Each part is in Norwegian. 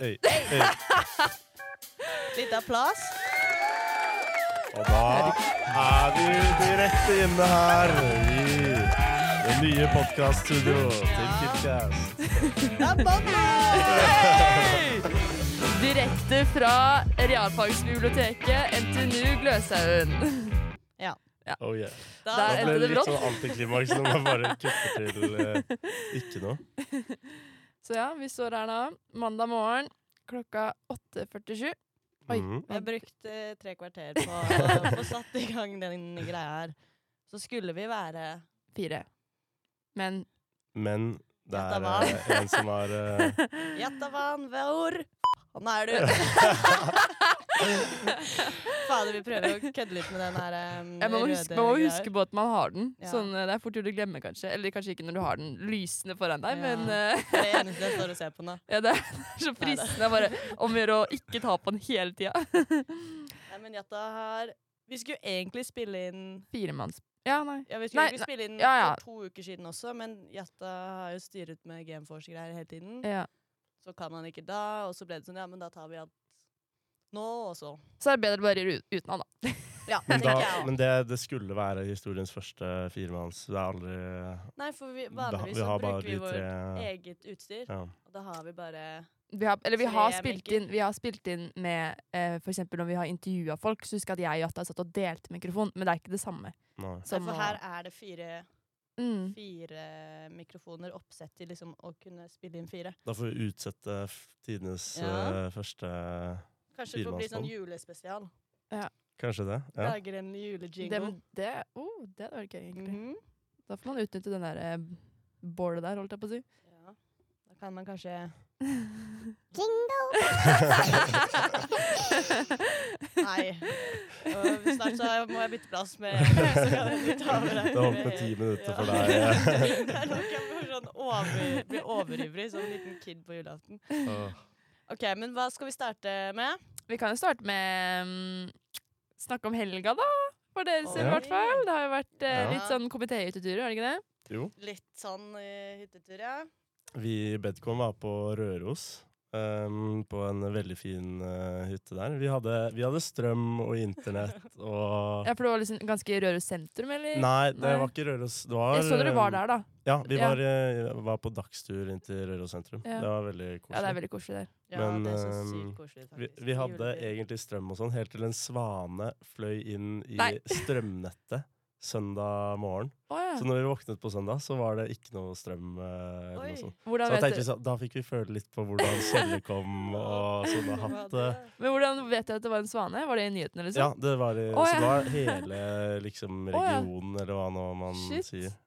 øy, øy. Litt applaus. Og da er vi direkte inne her i det nye podkaststudioet til KidCast. Det er mandag! Direkte fra realfagsbiblioteket NTNU Gløshaugen. Ja. Oh yeah. Da Der Da endte ble det det litt brått. sånn antiklimaks når man bare kutter til eh, ikke noe. Så ja, vi står her nå mandag morgen klokka 8.47. Oi. Mhm. Jeg brukte eh, tre kvarter på å få satt i gang den greia her. Så skulle vi være Fire. Men Men det Dette er var- eh, en som har eh, Jatavan Veor. Han er du. Fader, vi prøver å kødde litt med den her um, ja, man, må huske, man må huske på at man har den. Ja. Sånn, eh, det er fort gjort å glemme, kanskje. Eller kanskje ikke når du har den lysende foran deg, Ja. men eh, Det er det eneste jeg står og ser på nå. ja, det er så fristende å bare om å gjøre å ikke ta på den hele tida. Nei, men Jatta har Vi skulle egentlig spille inn Firemanns... Ja, nei. Ja, vi skulle Nei, egentlig spille inn ja, ja. for to uker siden også, men Jatta har jo styret med Gameforce-greier hele tiden. Ja. Så kan han ikke da, og så ble det sånn, ja, men da tar vi alt nå også. Så er det bedre bare å gjøre uten han, da. Ja, Men, tenker da, jeg også. men det, det skulle være historiens første firemanns. Det er aldri Nei, for vi, da, vanligvis Vi så har bare bruker vi de vårt tre eget utstyr, ja. og da har vi bare Vi har, eller vi Så har, jeg spilt liker- inn, vi har spilt inn med eh, For eksempel når vi har intervjua folk, så husker jeg at jeg og Jatta satt og delte mikrofon, men det er ikke det samme. Nei. Nei, Som For å- her er det fire, mm. fire mikrofoner oppsett til liksom å kunne spille inn fire. Da får vi utsette f- tidenes eh, Ja. første Kanskje det får bli Firemannspodden. sånn julespesial. Kanskje det. Ja. Lager en det, julejingle. må- det, oh, det hadde vært gøy, egentlig. Mhm. Da får man utnytte den der eh, bålet der, holdt jeg på å si. Ja. Da kan man kanskje Nei. Og snart så må jeg bytte plass med så kan jeg bytte over her. Det holdt med ti minutter for deg. Ja. Det er nok jeg får sånn over, blir overivrig som en liten kid på julaften. Åh. Ok, men hva skal vi starte med? Vi kan jo starte med mm, snakke om helga, da. For dere sin, i Oi. hvert fall. Det har jo vært eh, Ja. litt sånn komitéhytteturer, har det ikke det? Jo. Litt sånn eh, hyttetur, ja. Vi i Bedcom var på Røros. ehm, på en veldig fin eh, hytte der. Vi hadde, vi hadde strøm og internett og Ja, For det var liksom ganske Røros sentrum, eller? Nei, det Nei. var ikke Røros. Det var, Jeg så dere var ehm, der, da. Ja, vi Ja. var, eh, var på dagstur inn til Røros sentrum. Ja. Det var veldig koselig. Ja, det er veldig koselig der. Ja, Men, det er så ehm, sykt koselig, faktisk. Vi, vi hadde Julefyr. egentlig strøm og sånn, helt til en svane fløy inn i Nei. strømnettet søndag morgen. Å, ja. Så når vi våknet på søndag, så var det ikke noe strøm. eh, eller Oi. noe sånt. Så Hvordan da, vet tenkte vi du, sånn, da fikk vi føle litt på hvordan Kjelle kom og sånn og hatt det. men hvordan vet du at det var en svane? Var det i nyhetene, liksom? Ja, det var, i- Å, Så ja. det var hele liksom, Å, ja. regionen, eller hva nå man Shit. sier.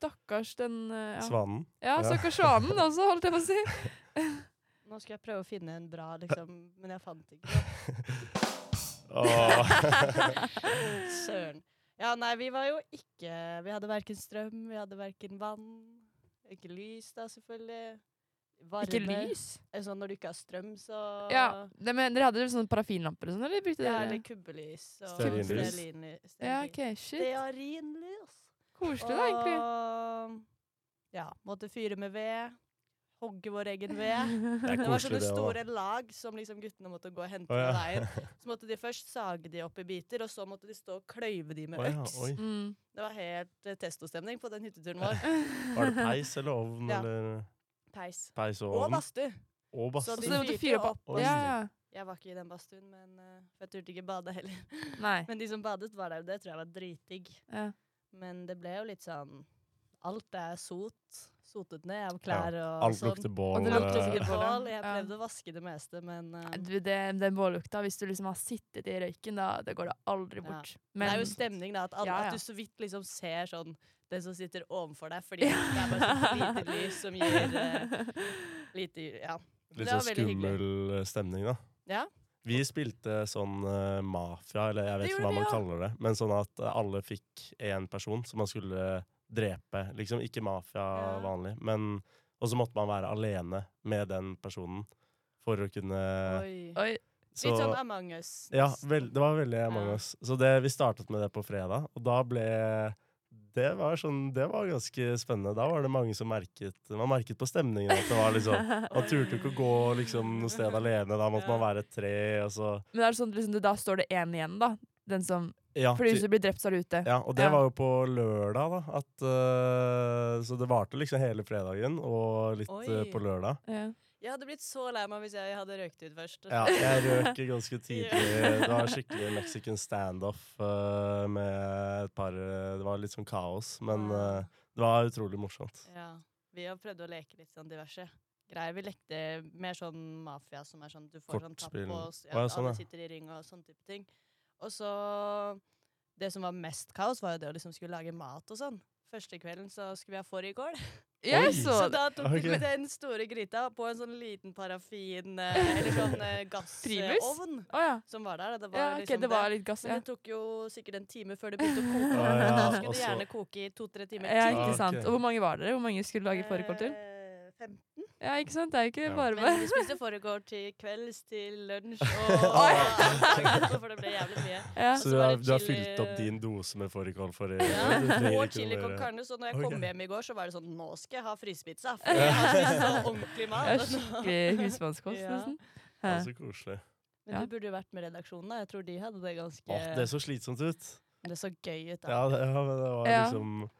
Stakkars den eh, ja. Svanen. ja, Ja. stakkars svanen også, holdt jeg på å si. Nå skal jeg prøve å finne en bra, liksom, men jeg fant ikke. Åh. Søren. Ja, nei, vi var jo ikke Vi hadde verken strøm, vi hadde verken vann, ikke lys, da, selvfølgelig. Varme. Ikke lys? Eh, Sånn når du ikke har strøm, så Ja, det, men Dere hadde vel sånne parafinlamper og sånn, eller brukte Ja, dere? eller kubbelys. Og Stearinlys. stearinlys. Ja, ok, shit. Stearinlys. Koselig, da, egentlig. Og ja, måtte fyre med ved. Hogge vår egen ved. Det er Det var koselig, sånne det òg. store lag som liksom guttene måtte gå og Å, hente ja. på veien. Så måtte de først sage de opp i biter, og så måtte de stå og kløyve de med Å, ja, øks. oi. Mm. Det var helt eh, testostemning på den hytteturen vår. Var det peis eller ovn? Ja. Eller Peis. peis og Og ovn? badstue. Og Så Og badstue. de så måtte fyrte fyre jo opp. opp badstue. Ja, ja. Jeg var ikke i den badstuen, men eh, for jeg turte ikke bade heller. Nei. Men de som badet, var der, og det tror jeg var dritdigg. Ja. Men det ble jo litt sånn Alt er sot. Sotet ned av klær og Alt sånn. lukter bål. Og det lukter eh, sikkert bål. Bål. Jeg Ja. prøvde å vaske det meste, men eh, Du, Det, den bållukta, hvis du liksom har sittet i røyken, da det går det aldri bort. det er Men jo stemning, da. At, alle, Ja, ja. at du så vidt liksom ser sånn den som sitter ovenfor deg, fordi det er bare sånn lite lys som gir eh, lite Ja. Litt Det var sånn veldig hyggelig. skummel stemning, da. Ja. Vi spilte sånn eh, mafia, eller jeg vet Det ikke hva gjorde man vi, ja. kaller det. Men sånn at eh, alle fikk én person som man skulle drepe. Liksom ikke mafia Ja. vanlig, men Og så måtte man være alene med den personen for å kunne Oi. Oi, så- Litt sånn Among us. ja, vel, det var veldig Among Ja. us. Så det, vi startet med det på fredag, og da ble det var, sånn, det var ganske spennende. Da var det mange som merket Man merket på stemningen at det var eh. liksom Man turte ikke å gå liksom, noe sted alene. Da måtte Ja. man være et tre. Og så, Men er det sånn, liksom, det- da står det én igjen, da. Den som, ja, fordi hvis ty- du blir drept, så er du ute. ja, og det Ja. var jo på lørdag, da. At, eh, så det varte liksom hele fredagen og litt Oi. eh, på lørdag. Ja. Jeg hadde blitt så lei meg hvis jeg hadde røykt ut først. Ja, jeg røk ganske tidlig. Ja. Det var skikkelig Mexican standoff eh, med et par eh, Det var litt sånn kaos, men Ah. eh, det var utrolig morsomt. Ja. Vi har prøvd å leke litt sånn diverse greier. Vi lekte mer sånn mafia, som er sånn du får sånn tapp Kortspill. på s- Å, ja, ja, sånn, ja. alle sitter i ring og sånn type ting. Og så Det som var mest kaos, var jo det å liksom skulle lage mat og sånn. Første kvelden så skulle vi ha fårikål. Jeg Oi. så Så det. da tok Ok. vi med den store gryta på en sånn liten parafin eh, eller sånn eh, Primus? gassovn Å ja. som var der. da. Det var ja. Ok, liksom det var litt gass, Men ja. det tok jo sikkert en time før det begynte å koke. Å, men da ja, altså. skulle og det så- gjerne koke i to-tre timer. Ja, til. Ah, ikke ok. sant. Og hvor mange var dere? Hvor mange skulle lage fårikål til? Eh, fem. Ja, ikke sant? Det er jo ikke Ja. bare Men bare vi spiste fårikål til kvelds, til lunsj Oi. og For det ble jævlig mye. ja. Så så du var har, det du har chili- fylt opp din dose med fårikål for i du trenger Og ikke chili noe con mer. carne. Så når jeg Ok. kom hjem i går, så var det sånn Nå skal jeg ha frysepizza. For jeg har spist så ordentlig Det er mat. Altså. skikkelig husmannskost, Ja. nesten. Ja, Hæ. så koselig. Men du burde jo vært med redaksjonen. da. Jeg tror de hadde det ganske Åh, det så slitsomt ut. Det så gøy ut, da. Ja, det, ja, men det var Ja. liksom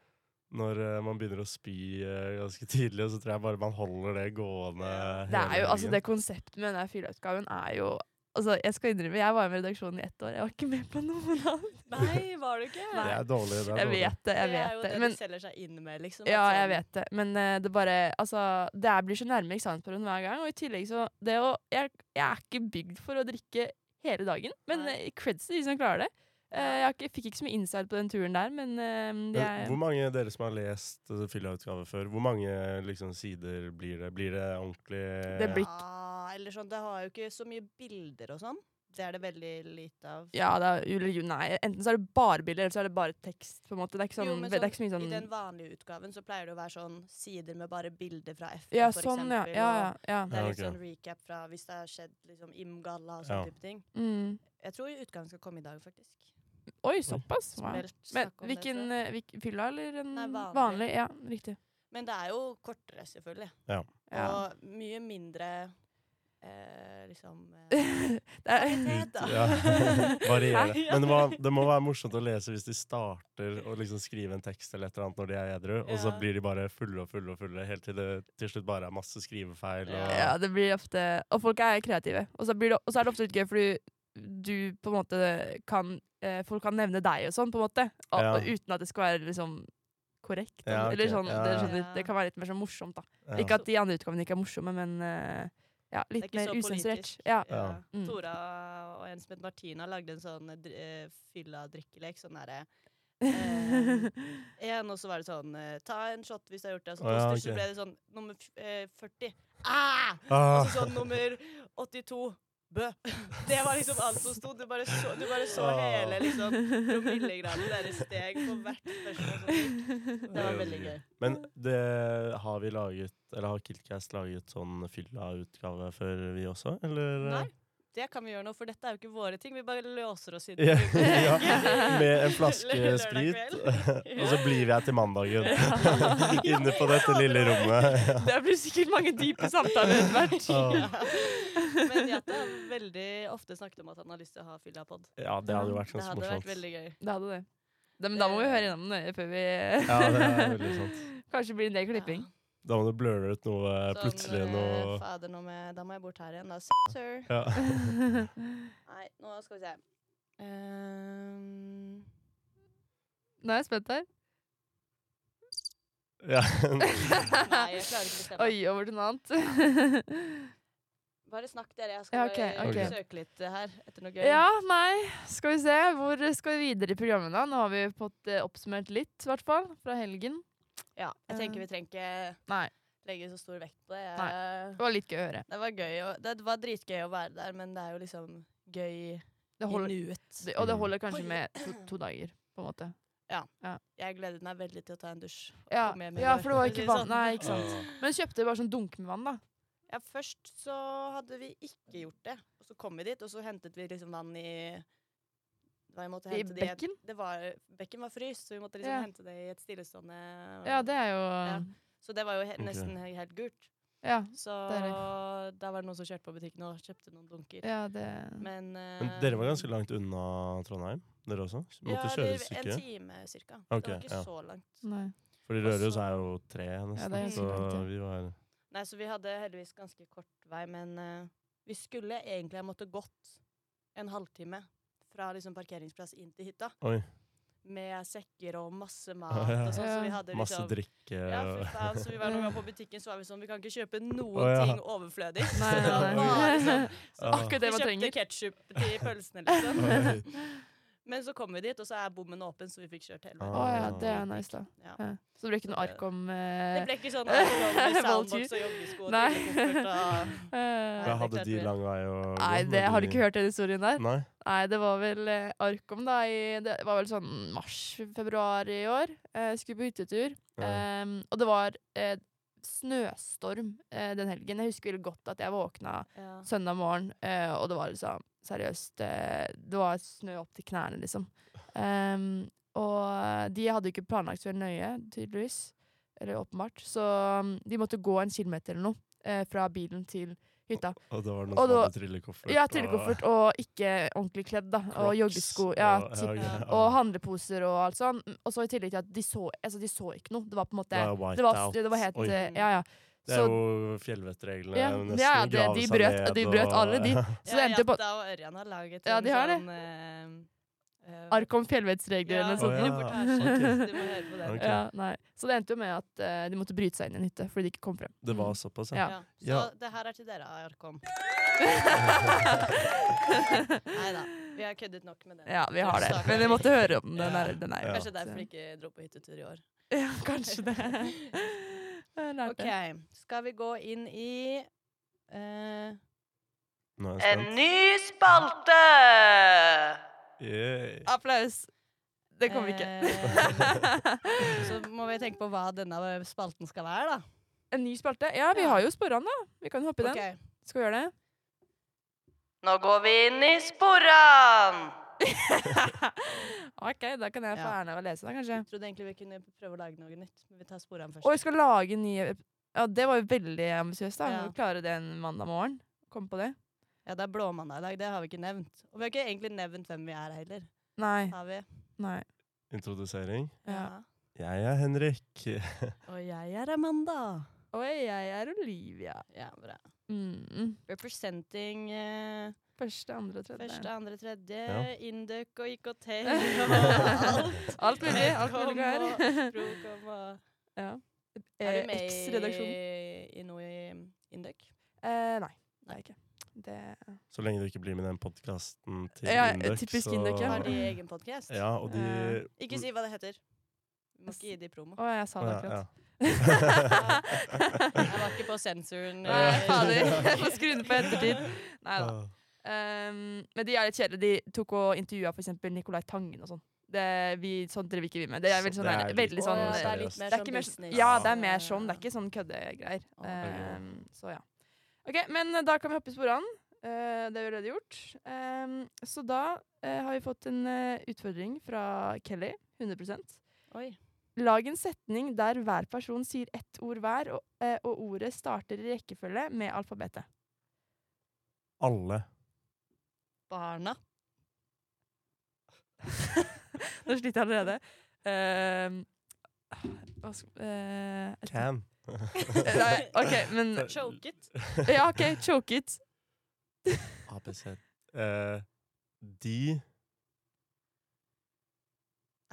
Når eh, man begynner å spy eh, ganske tidlig, så tror jeg bare man holder det gående Det er hele jo, altså dagen. det konseptet med denne fyllautgaven er jo Altså, jeg skal innrømme, jeg var jo med i redaksjonen i ett år. Jeg var ikke med på noen av dem. Nei, var det ikke? Det er dårlig. Det er Jeg dårlig. vet det, jeg det er vet jo det. det Men de selger seg inn med, liksom. Ja, at jeg sånn- vet det, men eh, det bare Altså, det her blir så nærme eksamensperioden hver gang, og i tillegg så Det å Jeg, jeg er ikke bygd for å drikke hele dagen, men Nei. eh, creds til de som klarer det. Eh, Ja. jeg har ikke, fikk ikke så mye insight på den turen der, men eh, det Men er hvor mange av dere som har lest uh, Fylla-utgave før, hvor mange liksom, sider blir det? Blir det ordentlig Det blir- Ja, eller sånn, det har jo ikke så mye bilder og sånn. Det er det veldig lite av. Ja, det er jo- jo- Nei, enten så er det bare bilder, eller så er det bare tekst, på en måte. Det er ikke, sånn, Jo, men det er ikke så mye I den sånn vanlige utgaven så pleier det å være sånn sider med bare bilder fra FN, Ja, for sånn, ja. eksempel, Ja, og ja. ja. Det er Ja, litt ok. sånn recap fra hvis det har skjedd liksom Im-galla og Ja. sånne type ting. Mm. Jeg tror utgaven skal komme i dag, faktisk. Oi, såpass? Wow. Vel, Men snakk om det, tror hvilken jeg. eh, hvik, fylla, eller en Nei, vanlig. vanlig. Ja, riktig. Men det er jo kortere, selvfølgelig. Ja. Og mye mindre eh, liksom eh, Det er, kvalitet, da. Ja. Varierer. Nei, ja. Men det, må- det må være morsomt å lese hvis de starter å liksom skrive en tekst eller et eller annet når de er edru, og så Ja. blir de bare fulle og fulle og fulle helt til det til slutt bare er masse skrivefeil. Og, Ja, det blir ofte Og folk er kreative. Og så, blir det, og så er det ofte litt gøy, fordi du på en måte kan eh, Folk kan nevne deg og sånn, på en måte. Og, Ja. og uten at det skal være liksom korrekt. Ja, ok. Eller sånn, Ja, det, ja. skjønner- det kan være litt mer sånn morsomt, da. ja. Ikke at de andre utgavene ikke er morsomme, men eh, ja, Det er litt ikke mer så usensurert. politisk. Ja. Ja. Mm. Tora og en som het Martina lagde en sånn eh, dr- eh, fylla drikkelek. Sånn derre eh, En, og så var det sånn eh, Ta en shot hvis du har gjort det. Og så, Å, ja, toaster, ok. så ble det sånn nummer f- eh, 40. Ah! Og Ah, altså, så sånn nummer 82. Bø. Det var liksom alt som sto. Du bare så, du bare så Ah. hele liksom, promillegraden deres steg på hvert spørsmål. som gikk. Det var veldig gøy. Men det har vi laget, eller har Kiltcast laget sånn fylla-utgave før vi også, eller? Nei, det kan vi gjøre nå, for dette er jo ikke våre ting. Vi bare låser oss inn. Ja, ja, biblioteket. med en flaske Lørdag sprit. kveld. Og så blir jeg til mandagen. Inne på dette lille rommet. Det blir sikkert mange dype samtaler etter hvert. Ja, Ja. Men Jate har veldig ofte snakket om at han har lyst til å ha fyllapod. Ja, det hadde jo vært Det ganske hadde vært morsomt. veldig gøy. Det hadde det. Da- Men da må vi høre gjennom den før vi Ja, det er veldig sant. Kanskje blir det en del klipping. Da må du bløre ut noe eh, plutselig. eh, Noe Fader, nå må jeg- da må jeg bort her igjen. Da. S- Sir. ja. Nei, nå skal vi se. Ehm, Nå er jeg spent her. ja. nei, jeg klarer ikke å bestemme. Oi, over til noe annet. Bare snakk dere, jeg Ja, skal ok, bare ok. søke litt eh, her etter noe gøy. ja, nei. Skal vi se. Hvor skal vi videre i programmet, da? Nå har vi fått eh, oppsummert litt, i hvert fall. Fra helgen. Ja, jeg tenker Eh. vi trenger ikke Nei. legge så stor vekt på det. Jeg, Det var litt gøy å høre. Det var gøy, og det var dritgøy å være der, men det er jo liksom gøy Det i holder, nuet. det, og det holder kanskje med to, to dager, på en måte. Jeg gledet meg veldig til å ta en dusj. og Ja, komme hjem i ja går, for det var å si ikke det vann. sånn. Nei, ikke sant. Ah. Men kjøpte bare sånn dunk med vann, da. Ja, først så hadde vi ikke gjort det, og så kom vi dit, og så hentet vi liksom vann i Da vi måtte I hente det et- bekken? Det var, bekken var fryst, så vi måtte liksom Ja. hente det i et stillestående Ja, det er jo Så det var jo he Ok. nesten he- helt gult. Ja, Så da var det noen som kjørte på butikken og kjøpte noen dunker. ja det Men, eh, Men dere var ganske langt unna Trondheim, dere også? Måtte kjøre et Ja, stykke? eller en time cirka. Ok, det var ikke ja. så langt. Nei. Fordi Og Røros så- er jo tre, nesten. det er så så langt, ja. vi var Nei, så vi hadde heldigvis ganske kort vei, men eh, vi skulle egentlig ha måttet gått en halvtime fra liksom parkeringsplass inn til hytta. Oi. Med sekker og masse mat Ja, ja. og sånn, så vi Ja. hadde Masse liksom drikke Ja, fy og faen. Så vi var noen gang på butikken, så var vi sånn Vi kan ikke kjøpe noen Å, ja. ting overflødig. Nei, Så det var bare nei, nei. sånn, så Akkurat det man vi trenger. kjøpte ketsjup til pølsene, liksom. Oi. Men så kom vi dit, og så er bommen åpen, så vi fikk kjørt hele Å Ah. veien. ja, det er nice, da. Ja. Ja. Så det ble ikke noe ark om Det eh, ble ikke sånn alkohol i soundbox og joggesko og Nei. trillekoffert og eh, ja, det Hadde klarte de vi. lang vei å gå? Nei, det har du ikke eller? hørt den historien der? Nei? Nei, det var vel eh, Arkom da i Det var vel sånn mars-februar i år. Eh, skulle på hyttetur. Ja. Em, og det var eh, snøstorm eh, den helgen. Jeg husker veldig godt at jeg våkna ja. søndag morgen, eh, og det var liksom Seriøst, eh, det var snø opp til knærne, liksom. Em, og de hadde jo ikke planlagt så veldig nøye, tydeligvis. Eller åpenbart. Så mm, de måtte gå en kilometer eller noe eh, fra bilen til hytta. Og det var noen Og som da- hadde trillekoffert? Ja, og- trillekoffert og ikke ordentlig kledd, da. Og Crocs joggesko. Ja, og- typ. ok, Ja. ja. Og handleposer og alt sånn. Og så i tillegg til at de så, altså de så ikke noe. Det var på en måte Det var white det var, out. det var helt Oi. eh, Ja, ja. Det er jo fjellvettreglene. Ja, nesten ja, det- grave de seg brøt- ned de brøt alle, de. og- Så det endte på Jenta og Ørjan har laget Ja, de har det. sånn eh, eh, ark om fjellvettsregler ja, eller noe sånt. Å, ja. noe. reportasje. Du må høre på den. Ok. Ja, nei. Så det endte jo med at eh, de måtte bryte seg inn i en hytte fordi de ikke kom frem. Det var såpass, Ja. ja. Ja. Så Ja. det her er til dere, Arkom. Nei da, vi har køddet nok med den. Ja, vi har det. Men vi måtte høre om den Ja. der. Den er jo- Kanskje derfor vi ikke dro på hyttetur i år. Ja, kanskje det. Jeg lærte. OK, skal vi gå inn i eh, Nå er jeg spent. ny spalte! Yeah. Applaus! Det kom ikke. Eh. Så må vi tenke på hva denne spalten skal være, da. en ny spalte? Ja, vi Ja. har jo sporene, da. Vi kan hoppe i den. Ok. Skal vi gjøre det? Nå går vi inn i sporene! OK, da kan jeg få Ja. æren av å lese den, kanskje. Trodde egentlig vi kunne prøve å lage noe nytt, men vi tar sporene først. Og vi skal lage en ny ep- Ja, det var jo veldig ambisiøst, da. Ja. Å klare det en mandag morgen. Kom på det. Ja, det er blåmandag i dag, det har vi ikke nevnt. Og vi har ikke egentlig nevnt hvem vi er heller. Nei. Har vi? Nei. Introdusering. Ja. Jeg er Henrik. Og jeg er Amanda. Oi, jeg er Olivia. Ja, bra. Mm. mm. Representing eh, Første, andre og tredje. første, andre, tredje, Ja. Induc og IKT og alt. Alt mulig. Alt Kom mulig vi har. og Procom og ja. Er Eh, du med X-redaksjonen. i, i noe i Induc? Eh, nei, det er jeg ikke. Det Så lenge du ikke blir med i den podkasten til Ja, ja, Induk, typisk så Induk, Har ja. de egen podkast? Ja, og de Ikke si hva det heter. Vi må ikke gi de promo. Å, jeg sa Å, det ja, ja. akkurat. Jeg var ikke på sensoren. Nei, eh, fader. Jeg får skru den på ettertid. Nei da. Ah. Um, men de er litt kjedelige. De tok og intervjua f.eks. Nicolai Tangen og sånn. Det- vi- Sånt driver ikke vi med. Det er Så veldig sånn, det er der- veldig litt- sånn Å, Åh, eh, det er litt seriøst. mer det er sånn ikke mer, business. sånn- ja, det er Ja, mer ja, sånn. Det ja. er ikke sånn køddegreier. Å. Ehm, så ja. OK, men eh, da kan vi hoppe i sporene. Eh, det har vi allerede gjort. Ehm, så da eh, har vi fått en eh, utfordring fra Kelly. 100 Oi. Lag en setning der hver person sier ett ord hver, og, eh, og ordet starter i rekkefølge med alfabetet. Alle. Barna. Nå sliter jeg allerede. Ehm, hva skal eh, et- Can. Eh, Nei, OK, men Choket. Ja, OK, choke it. APC. Eh, de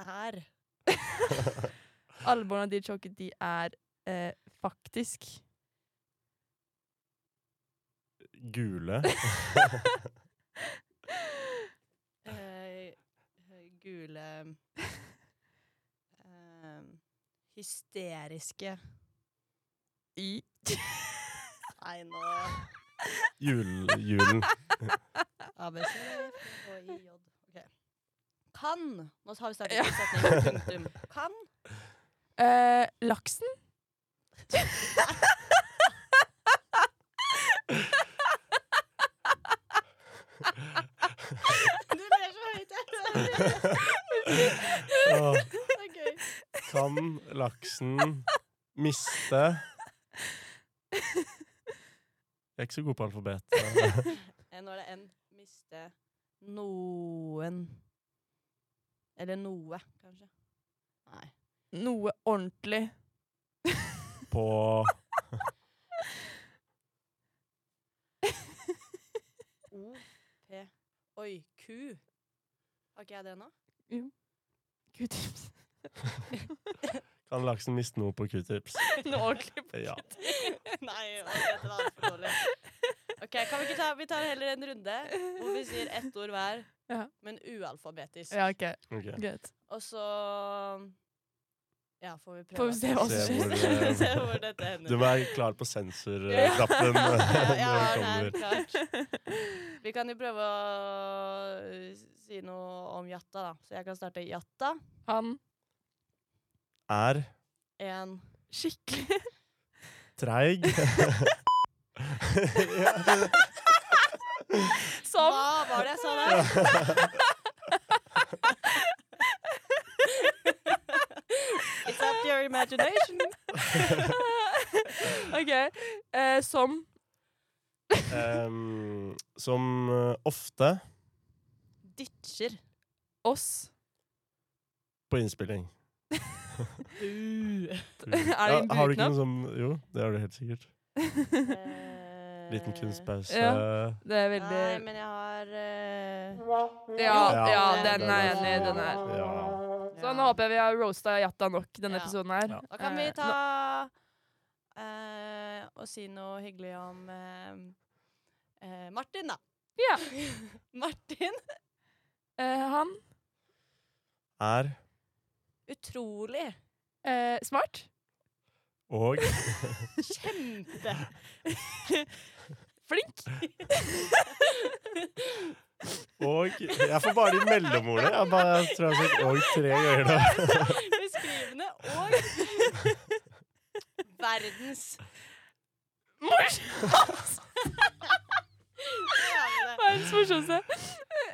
Her. Alle barna de choket, de er eh, faktisk gule. Eh, gule eh, Hysteriske. i Nei, nå Jul, julen. ABC og IJ. Ok. Kan Nå har vi startet Ja. på setningen. Punktum. Kan Eh, Laksen? Du ler så høyt, jeg. Åh, Det er gøy. kan laksen miste Jeg er ikke så god på alfabet. Eh, Nå er det en miste noen Eller noe, kanskje. Nei. Noe ordentlig. På O, P Oi, ku. Har ikke jeg det nå? Gud, Kan laksen miste noe på q-tips? noe ordentlig. Ja. Nei, jeg vet det det er for dårlig. Ok, kan Vi ikke ta Vi tar heller en runde hvor vi sier ett ord hver, Ja. men ualfabetisk. Ja, ok. ok. Greit. Og så Ja, får vi prøve. Får vi se hva Se som skjer. hvor, eh, Se hvor dette hender. Du må være klar på sensorknappen når ja, jeg har den den her, kommer. klart. Vi kan jo prøve å eh, si noe om jatta, da. Så jeg kan starte jatta. Han Er En skikkelig treig. ja, som Hva var det jeg sa der? It's up to your imagination. OK. Eh, som em, Ehm, som eh, ofte Ditcher. oss. på innspilling. Uh. Er det en Ja, har du ikke buknapp? noe som Jo, det har du helt sikkert. Liten kunstpause. Eh, Ja. Det er veldig Nei, men jeg har eh, ja, Ja. ja, Den den er jeg er- enig i. Den her. Ja. Så nå håper jeg vi har roasta Jatta nok denne Ja. episoden her. Ja. Da kan vi Eh, ta nå- eh, og si noe hyggelig om eh, eh, Martin, da. Ja. Martin. Eh, han Er Utrolig. eh, smart. og Kjempe. Flink. Og Jeg får bare de mellomordene. Jeg, bare, jeg tror jeg har sagt 'og' tre ganger nå. Beskrivende og verdens Morsomt! jævla- Verdens morsomste.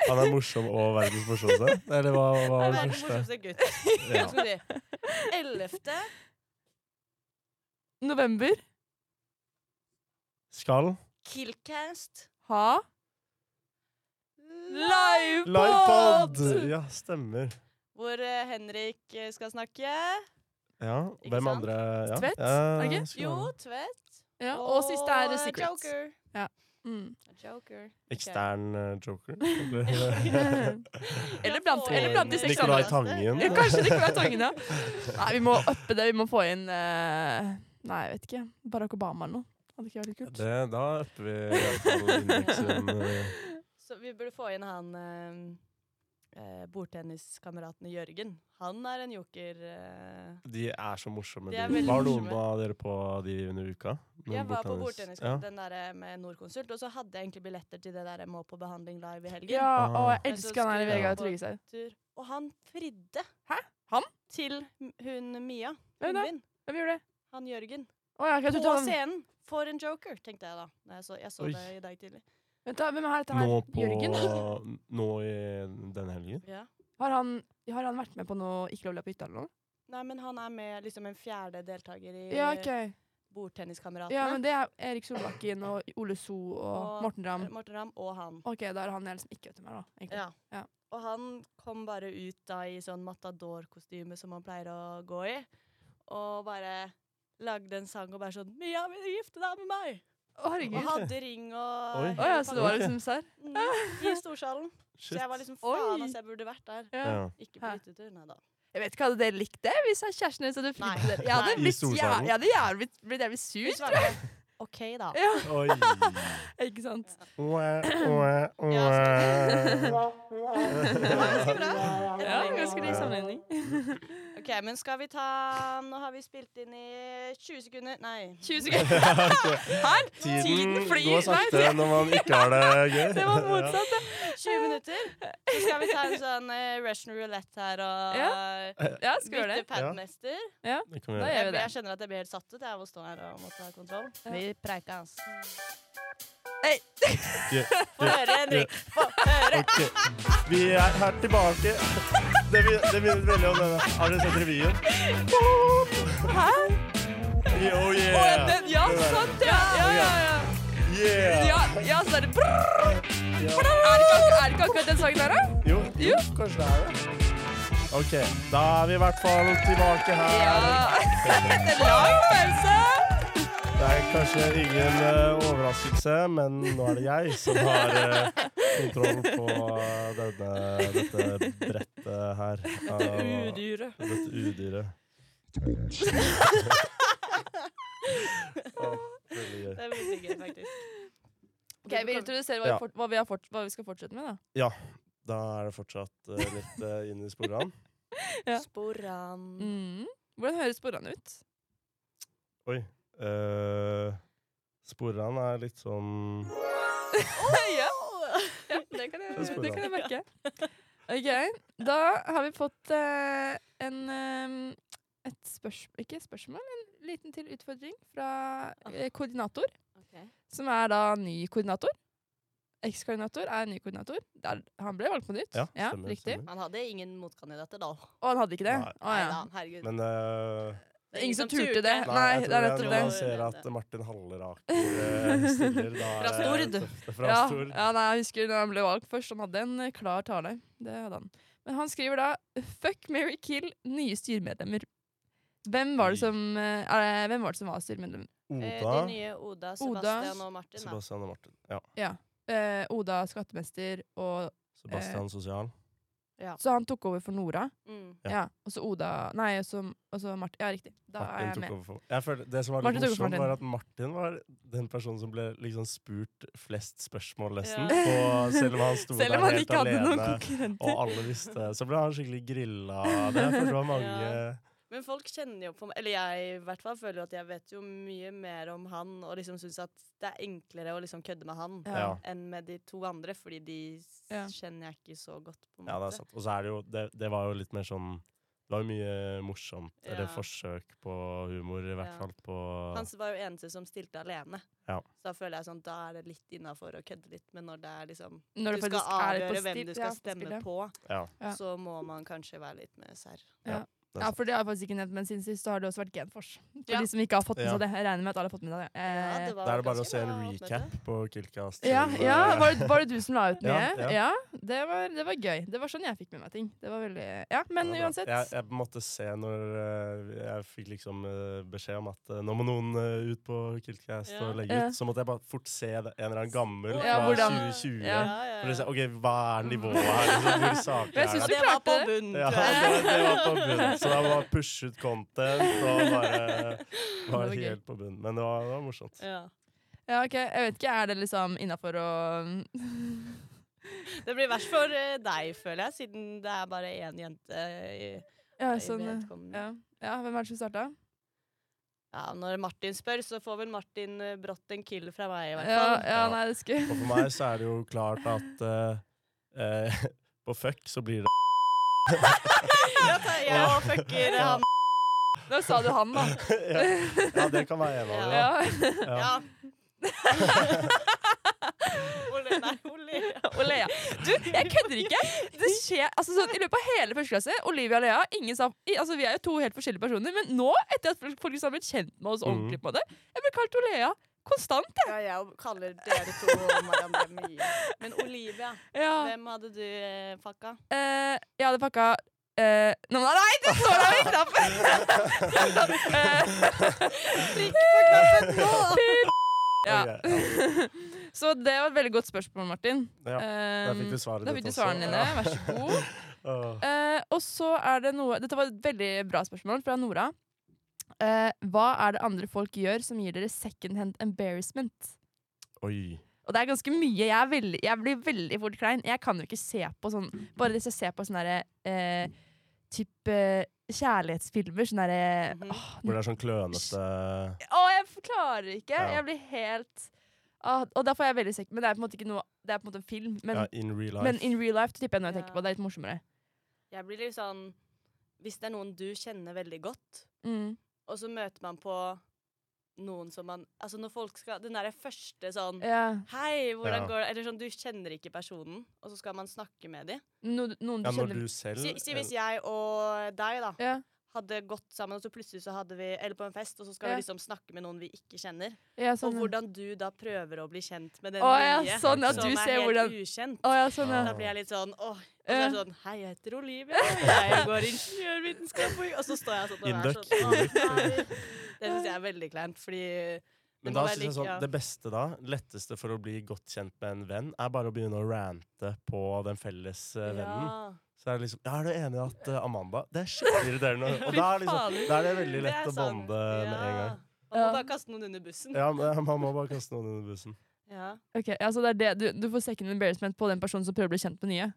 Han er morsom og verdens morsomste. Eller hva hva var det verdens første? morsomste gutt. Hva Ja. skal vi si? Ellevte November. Skal Killcast Ha Livepod! livepod! Ja, stemmer. Hvor eh, Henrik eh, skal snakke. Ja, Ikke hvem sant? andre ja. Tvedt? Ja, Er det ikke? skal Jo, være. Tvedt. Ja, og siste er eh, Secrets. Joker. Mm. Joker. Ekstern eh, joker. Eller blant, eller blant de seks Nicolai andre. Tangen. Ja, kanskje det ikke var Tangen, ja. Nei, vi må uppe det. Vi må få inn eh, Nei, jeg vet ikke. Barack Obama eller noe. Hadde ikke vært litt kult. Det, da øpper vi i hvert fall indeksen. eh, Så vi burde få inn han eh, eh, bordtenniskameraten Jørgen. Han er en joker. eh. De er så morsomme. De er de. veldig Var noen morsomme. av dere på de under uka? Noen jeg var på bordtennis- bordtennis Ja. den der eh, med Norconsult, og så hadde jeg egentlig billetter til det der Må på behandling live i helgen. Ja, og jeg Ah. elsker han her i Vegard Tryggeseid. Tur. Og han fridde. Hæ? Han? Til m- hun Mia. Hvem Hun da? min. Hvem gjorde det? Han Jørgen. Å ja, ok, På jeg trodde han scenen. For en joker, tenkte jeg da. Når jeg så, jeg så Oi. det i dag tidlig. Vent, da. Hvem er dette her? Nå Jørgen? på Nå i denne helgen? Ja. Har han, har han vært med på noe Ikke lov å løpe hytta eller noe? Nei, men han er med liksom en fjerde deltaker i Ja, ok. Bordtenniskameratene. Ja, men det er Erik Solbakken og Ole So og Og- Morten Ramm. Morten Ramm og han. Ok, da er det han jeg liksom ikke vet hvem er, da. egentlig. Ja. Og han kom bare ut da i sånn matador-kostyme som han pleier å gå i, og bare lagde en sang og bare sånn 'Mia, vil du gifte deg med meg?' Å, Og herregud. hadde ring og Oi. hele Å ja, så det var Ok. liksom serr? pakken. Mm, I storsalen. Så Shit. jeg var liksom Oi. faen, altså, jeg burde vært der. Ja. Ja. Ikke på Hæ. hyttetur, nei da. Jeg vet ikke, hadde dere likt det hvis jeg- kjæresten deres hadde Nei. flyttet dere? Jeg hadde Nei. I blitt, jæv- storsalen? jeg hadde jævlig, blitt, blitt jævlig sur. Vi svarte sånn, OK, da. Ja, Oi. ikke sant? Mwah, mwah, Ja, mwah. Det var ganske bra. Et Ja, poeng. ganske lik sammenligning. OK, men skal vi ta Nå har vi spilt inn i 20 sekunder Nei. 20 sekunder. Her! Tiden Tiden flyr. går Nei, sakte når man ikke har det gøy. Det var motsatt. det. 20 minutter. Så skal vi ta en sånn eh, Russian roulette her og Ja, skal vi gjøre bytte det? padmester. Det kan vi Da gjøre. gjør Jeg, vi det. jeg skjønner at jeg blir helt satt ut jeg, av å stå her og måtte ha kontroll. Ja. Vi preika, ass. Hey. Yeah. Få høre, Henrik. Få høre. Ok. Vi er her tilbake. Det, min- det minnet veldig om denne. Har dere sett revyen? Hæ? Oh Å, ja, yeah! den, ja, Det der. sant, ja. Ja, ja, ja. Yeah! Ja, ja så er det brrrr. Ja. Er det ikke akkurat, er det ikke akkurat den sangen der, da? Jo, jo, kanskje det er det. Ok, da er vi i hvert fall tilbake her. Ja. Det Det er lang pause. er kanskje ingen eh, overraskelse, men nå er det jeg som har eh, kontroll på eh, denne, dette brettet her. Av- Udyret. Dette udyret. Å, veldig gøy. Det er veldig gøy, faktisk. Ok, Vi introduserer hva, Ja. vi fort- hva, vi har fort, hva vi skal fortsette med, da. Da er det fortsatt eh, litt eh, inn i sporene. Ja. Sporan. Mm. Hvordan høres sporene ut? Oi. Uh, sporene er litt sånn ja. ja, det kan jeg, Det er sporene. det kan jeg merke. Ok, da har vi fått eh, en eh, et spørsmål, ikke spørsmål, en liten til utfordring fra eh, koordinator, som er da ny koordinator. Ekskoordinator er ny koordinator. Der, han ble valgt på nytt. Ja, stemmer, riktig. stemmer. Han hadde ingen motkandidater da. Og han hadde ikke det? Nei. Å, ja. Neida, herregud. Men eh, Det er Ingen som turte det. nei, Eh, Nei, jeg det er tror jeg nettopp når det. man ser at Martin Halleraker eh, stiller da er Fra det Stord. tøft. Fra Ja, Stord. ja, nei, jeg husker da han ble valgt først. Han hadde en eh, klar tale. Det hadde han. Men han skriver da 'Fuck, marry, kill nye styremedlemmer'. Hvem var det Oi. som, eh, er det, hvem var det som var styremedlem? Eh, Oda, de nye Oda, Sebastian og Martin. Da. Sebastian og Martin. Ja. Eh, Oda skattemester, og Sebastian sosial. så han tok over for Nora. Mm. Ja. Ja, Og så Oda Nei, og så, og så Martin. Ja, riktig. Da Martin er jeg tok med. over for jeg føler, Det som var litt Martin tok over morsomt, for Martin. var at Martin var den personen som ble liksom spurt flest spørsmål, nesten. Ja. på- Selv om han sto Selv om der han helt ikke hadde noen alene. konkurrenter. Og alle visste Så ble han skikkelig grilla. Det er for så mange Ja. Men folk kjenner jo på meg, eller jeg i hvert fall føler jo at jeg vet jo mye mer om han, og liksom syns at det er enklere å liksom kødde med han ja. enn med de to andre, fordi de s- Ja. kjenner jeg ikke så godt, på en Ja, det er måte. sant. Og så er det jo Det, det var jo litt mer sånn Det var jo mye morsomt, eller Ja. forsøk på humor, i hvert Ja. fall på Han var jo eneste som stilte alene. Ja. Så da føler jeg sånn, da er det litt innafor å kødde litt, men når det er liksom Du Når det skal faktisk er litt avgjøre på hvem stil- du ja, skal på spill, stemme ja. på, Ja. Ja. så må man kanskje være litt mer serr. Det er Ja, sant. for det har jeg faktisk ikke nevnt, men siden sist så har det også vært Genfors. For Ja. de som ikke har fått med Ja. seg det. Jeg regner med at alle har fått med seg det. Eh, Da er det bare å se en recap på Killcast. Ja, til, ja eh, var, det, var det du som la ut mye? Ja, Ja, ja. det, var, det var gøy. Det var sånn jeg fikk med meg ting. Det var veldig, ja, ja, Men da. uansett. Jeg, jeg måtte se når eh, jeg fikk liksom eh, beskjed om at eh, nå må noen eh, ut på Killcast Ja. og legge Ja. ut. Så måtte jeg bare fort se det, en eller annen gammel Ja, fra hvordan- 2020. ja. For å se, ok, hva er nivået her? Liksom, hvor saklig Jeg er synes det? Og det var på klarte det. bunnen, Ja, tror jeg. det, det var på bunnen. Så da var pushe ut content og bare var var gøy. helt på bunnen. Men det var, det var morsomt. Ja. Ja, ok, Jeg vet ikke, er det liksom innafor å Det blir verst for eh, deg, føler jeg, siden det er bare én jente i, Ja, i sånn eh, vedkommende. ja. ja, hvem er det som starta? Ja, når Martin spør, så får vel Martin eh, brått en kill fra meg, i hvert Ja, fall. ja, Ja. nei, det Og skulle for meg så er det jo klart at eh, eh, på fuck så blir det Ja, ta- jeg Ja. og fucker han. Da sa du han, da. ja, ja, det kan være en av dem. Ja. Ja. Ja. Ole, nei, Ole. Og Lea. Du, jeg kødder ikke! Det skjer, altså sånn, I løpet av hele første klasse, Olivia og Lea ingen sa, i, altså, Vi er jo to helt forskjellige personer, men nå, etter at folk liksom har blitt kjent med Mm. oss ordentlig, på en måte, jeg blir kalt Olea konstant. Ja, jeg kaller dere to hverandre mye. Men Olivia, Ja. hvem hadde du eh, pakka? Eh, jeg hadde pakka eh, Nei, nei, nei, du står der med knappen! Trykk på knappen nå! Ja. Ok, ja. Så det var et veldig godt spørsmål, Martin. Ja, Eh, fikk du svaret da ditt fikk du også. svarene dine. eh, Vær så god. Åh. Eh, og så er det noe Dette var et veldig bra spørsmål fra Nora. Eh, hva er det andre folk gjør som gir dere second hand embarrassment? Oi. Og det er ganske mye. Jeg, er veldig, jeg blir veldig fort klein. Jeg kan jo ikke se på sånn Bare hvis jeg ser på sånne derre eh, type kjærlighetsfilmer, sånn derre Mhm. åh, Hvor det er sånn klønete Å, jeg forklarer ikke. Ja. Jeg blir helt Ah, og da får jeg veldig sekk. Men det er på en måte ikke noe Det er på en måte en film. Men, ja, in real life. men in real life tipper jeg når jeg Ja. tenker på det. Det er litt morsommere. Jeg blir litt sånn Hvis det er noen du kjenner veldig godt, Mm. og så møter man på noen som man Altså når folk skal Den derre første sånn Ja. Hei, hvordan Ja. går det? Eller sånn, du kjenner ikke personen, og så skal man snakke med dem. No, noen du ja, når kjenner du selv Si, si hvis jeg og deg, da, ja. hadde gått sammen, og så plutselig så hadde vi Eller på en fest, og så skal Ja. vi liksom snakke med noen vi ikke kjenner. ja, sånn. Og ja. hvordan du da prøver å bli kjent med den Å ja, nye sånn ja, at som du er ser helt hvordan ukjent. Å ja, sånn, Ja. ja. Da blir jeg litt sånn åh. Og så er Ja. Eh. det sånn Hei, jeg heter Olivia, og jeg går ingeniørvitenskap. Og og så står jeg sånn og er Induc, sånn. Induc. «Å, nei». Det syns jeg er veldig kleint, fordi det Men må da være synes jeg like- sånn, ja. Det beste da, letteste for å bli godt kjent med en venn, er bare å begynne å rante på den felles eh, vennen. Ja. Så er det liksom Ja, er du enig i at eh, Amanda Det er skikkelig irriterende. Og da er, liksom, faen. da er det veldig lett Det er å sant. bonde med en Ja. gang. Man må sånn, Ja. bare kaste noen under bussen. Ja, men eh, man må bare kaste noen under bussen. Ja. Ok, ja, så det er det. Du, du får second embarrassment på den personen som prøver å bli kjent med nye.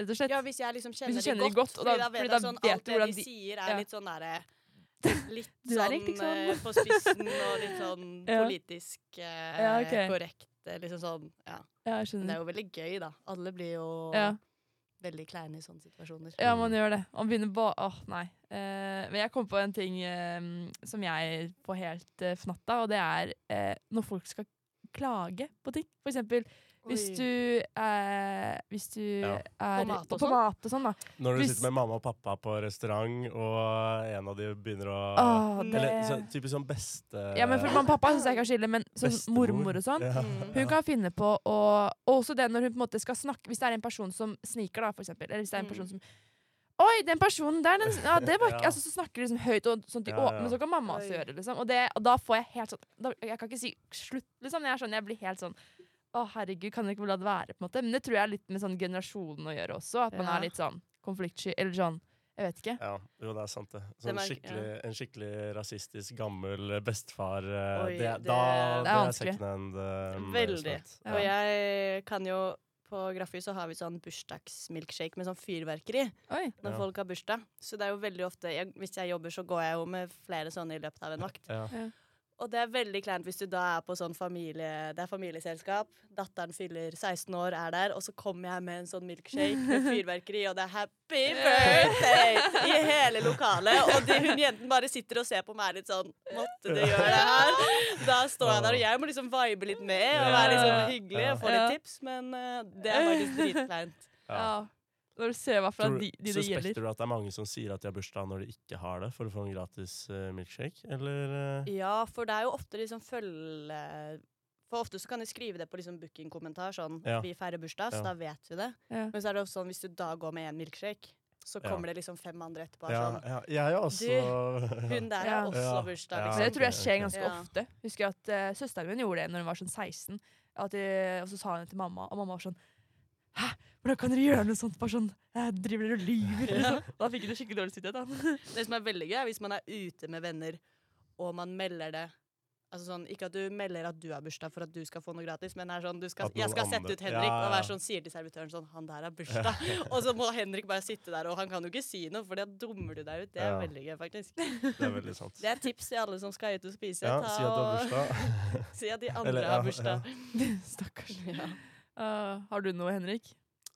Rett og slett. Ja, hvis jeg liksom kjenner, Hvis du de kjenner de godt. godt, og fordi da- da vet fordi jeg da sånn vet alt du det de, hvordan de- sier, er ja. litt sånn derre Litt Du er sånn egentlig ikke sånn. eh, på spissen og litt sånn Ja. politisk eh, Ja, ok. korrekt. eh, Liksom sånn, ja. Ja, jeg Men det er skjønner. jo veldig gøy, da. Alle blir jo Ja. veldig kleine i sånne situasjoner. Ja, Mm. man gjør det. Man begynner ba... Åh, nei. Eh, men jeg kom på en ting eh, som jeg får helt eh, fnatt av, og det er eh, når folk skal klage på ting. For eksempel hvis Oi. du, eh, hvis du Ja. er mat og på, sånn? mat og sånn, da. Når du Hvis- sitter med mamma og pappa på restaurant, og en av de begynner å Åh, det... Eller så, Mm. typisk sånn beste Ja, men for, man, Pappa syns jeg kan skille, men sånn bestemor. mormor og sånn Ja. Mm. Hun kan finne på å Og også det når hun på en måte skal snakke Hvis det er en person som sniker, da, for eksempel. Eller hvis det er en Mm. person som Oi, den personen der, den Ja, det var ikke Ja. Altså, så snakker de liksom høyt, og sånn til Ja, ja. åpne, så kan mamma også Oi. gjøre det, liksom. Og, det, og da får jeg helt sånn da, Jeg kan ikke si slutt, liksom. Jeg, er sånn, jeg blir helt sånn Å, herregud, kan du ikke la det være, på en måte? Men det tror jeg er litt med sånn generasjonen å gjøre også. At man Ja. er litt sånn konfliktsky, eller sånn Jeg vet ikke. Ja, jo, det er sant, det. Det Sånn merker- skikkelig, en skikkelig rasistisk, gammel bestefar eh, Oi, det, det- Da Det er det er vanskelig. second hand. eh, Veldig. embarrassment. Ja. Og jeg kan jo På Graffy så har vi sånn bursdagsmilkshake med sånn fyrverkeri Oi. når Ja. folk har bursdag. Så det er jo veldig ofte jeg, Hvis jeg jobber, så går jeg jo med flere sånne i løpet av en vakt. Ja. Og det er veldig kleint hvis du da er på sånn familie, det er familieselskap, datteren fyller 16 år, er der, og så kommer jeg med en sånn milkshake med fyrverkeri, og det er 'happy birthday' i hele lokalet. Og de, hun jenten bare sitter og ser på meg litt sånn 'måtte du gjøre det her?' Da står jeg der, og jeg må liksom vibe litt med og være litt sånn hyggelig og få litt tips, men eh, det er faktisk dritkleint. Ja. Ja. Når du ser hva fra Tror- de, de det Suspekter gjelder. du at det er mange som sier at de har bursdag når de ikke har det, for å få en gratis eh, milkshake? Eller eh, Ja, for det er jo ofte liksom følge... For ofte så kan de skrive det på liksom bookingkommentar, sånn Ja. 'vi feirer bursdag', så Ja. da vet du det. Ja. Men så er det også sånn, hvis du da går med en milkshake, så Ja. kommer det liksom fem andre etterpå. ja, Sånn. ja, Jeg er jo også Hun der Ja. har også Ja. bursdag, Ja. liksom. Men det tror jeg ok, skjer ok. ganske Ja. ofte. Husker jeg at eh, Søsteren min gjorde det når hun var sånn 16. At, eh, og så sa hun det til mamma, og mamma var sånn Hæ, hvordan kan dere gjøre noe sånt? Bare sånn, eh, Driver dere og lyver? Liksom. Da fikk hun det skikkelig dårlig samvittighet. Det som er veldig gøy, er hvis man er ute med venner, og man melder det Altså sånn, Ikke at du melder at du har bursdag for at du skal få noe gratis, men det er sånn, du skal, At noen jeg skal sette andre- ut Henrik, Ja, og ja. være sånn, sier til servitøren sånn 'Han der har bursdag.' og så må Henrik bare sitte der, og han kan jo ikke si noe, for da dummer du deg ut. Det er Ja. veldig gøy, faktisk. Det er veldig sant. Det er et tips til alle som skal ut og spise. Ja, Ta si at du har og- bursdag. si at de andre Eller, ja, har bursdag. da. Stakkars. Ja. Eh, har du noe, Henrik?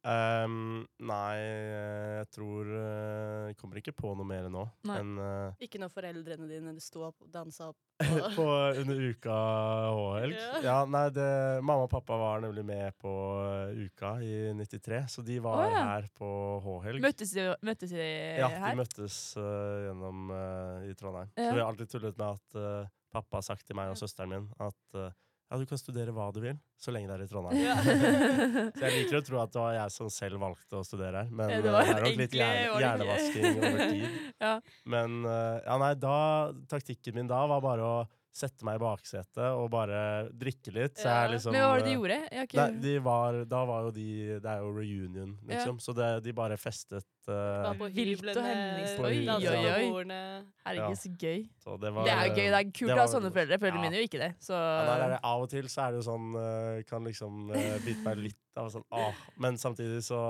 Ehm, nei, eh, jeg tror eh, Jeg kommer ikke på noe mer nå Nei. enn eh, Ikke når foreldrene dine sto opp og dansa opp. på under uka H-helg. Ja. Ja, nei, det, mamma og pappa var nemlig med på eh, uka i 93, så de var Å, ja. her på H-helg. Møttes de, møttes de Ja, de her? møttes eh, gjennom eh, i Trondheim. Ja. Så vi har alltid tullet med at eh, pappa har sagt til meg og søsteren min at eh, ja, du kan studere hva du vil, så lenge det er i Trondheim. Ja. Så jeg liker å tro at det var jeg som selv valgte å studere her, men eh, Ja, det det, var er nok litt egentlig- hjerne, var det ikke- hjernevasking over tid. ja. Men eh, ja, nei, da, taktikken min da var bare å sette meg i baksetet og bare drikke litt. Så Ja. jeg liksom Men hva var det de eh, gjorde? Jeg har ikke Nei, de var, da var jo de Det er jo reunion, liksom. Så det, de bare festet eh, Var på Vilt og hyblene, hemningsløst. Oi, dansa oi, på oi. bordene. ja. Herregud, så gøy. så det, var, Sånn. det er jo gøy. Det er kult å ha var- sånne foreldre. Foreldrene ja. mine gjør jo ikke det. Så Ja, nei, nei, nei, av og til så er det jo sånn eh, Kan liksom eh, bite meg litt av sånn ah. Men samtidig så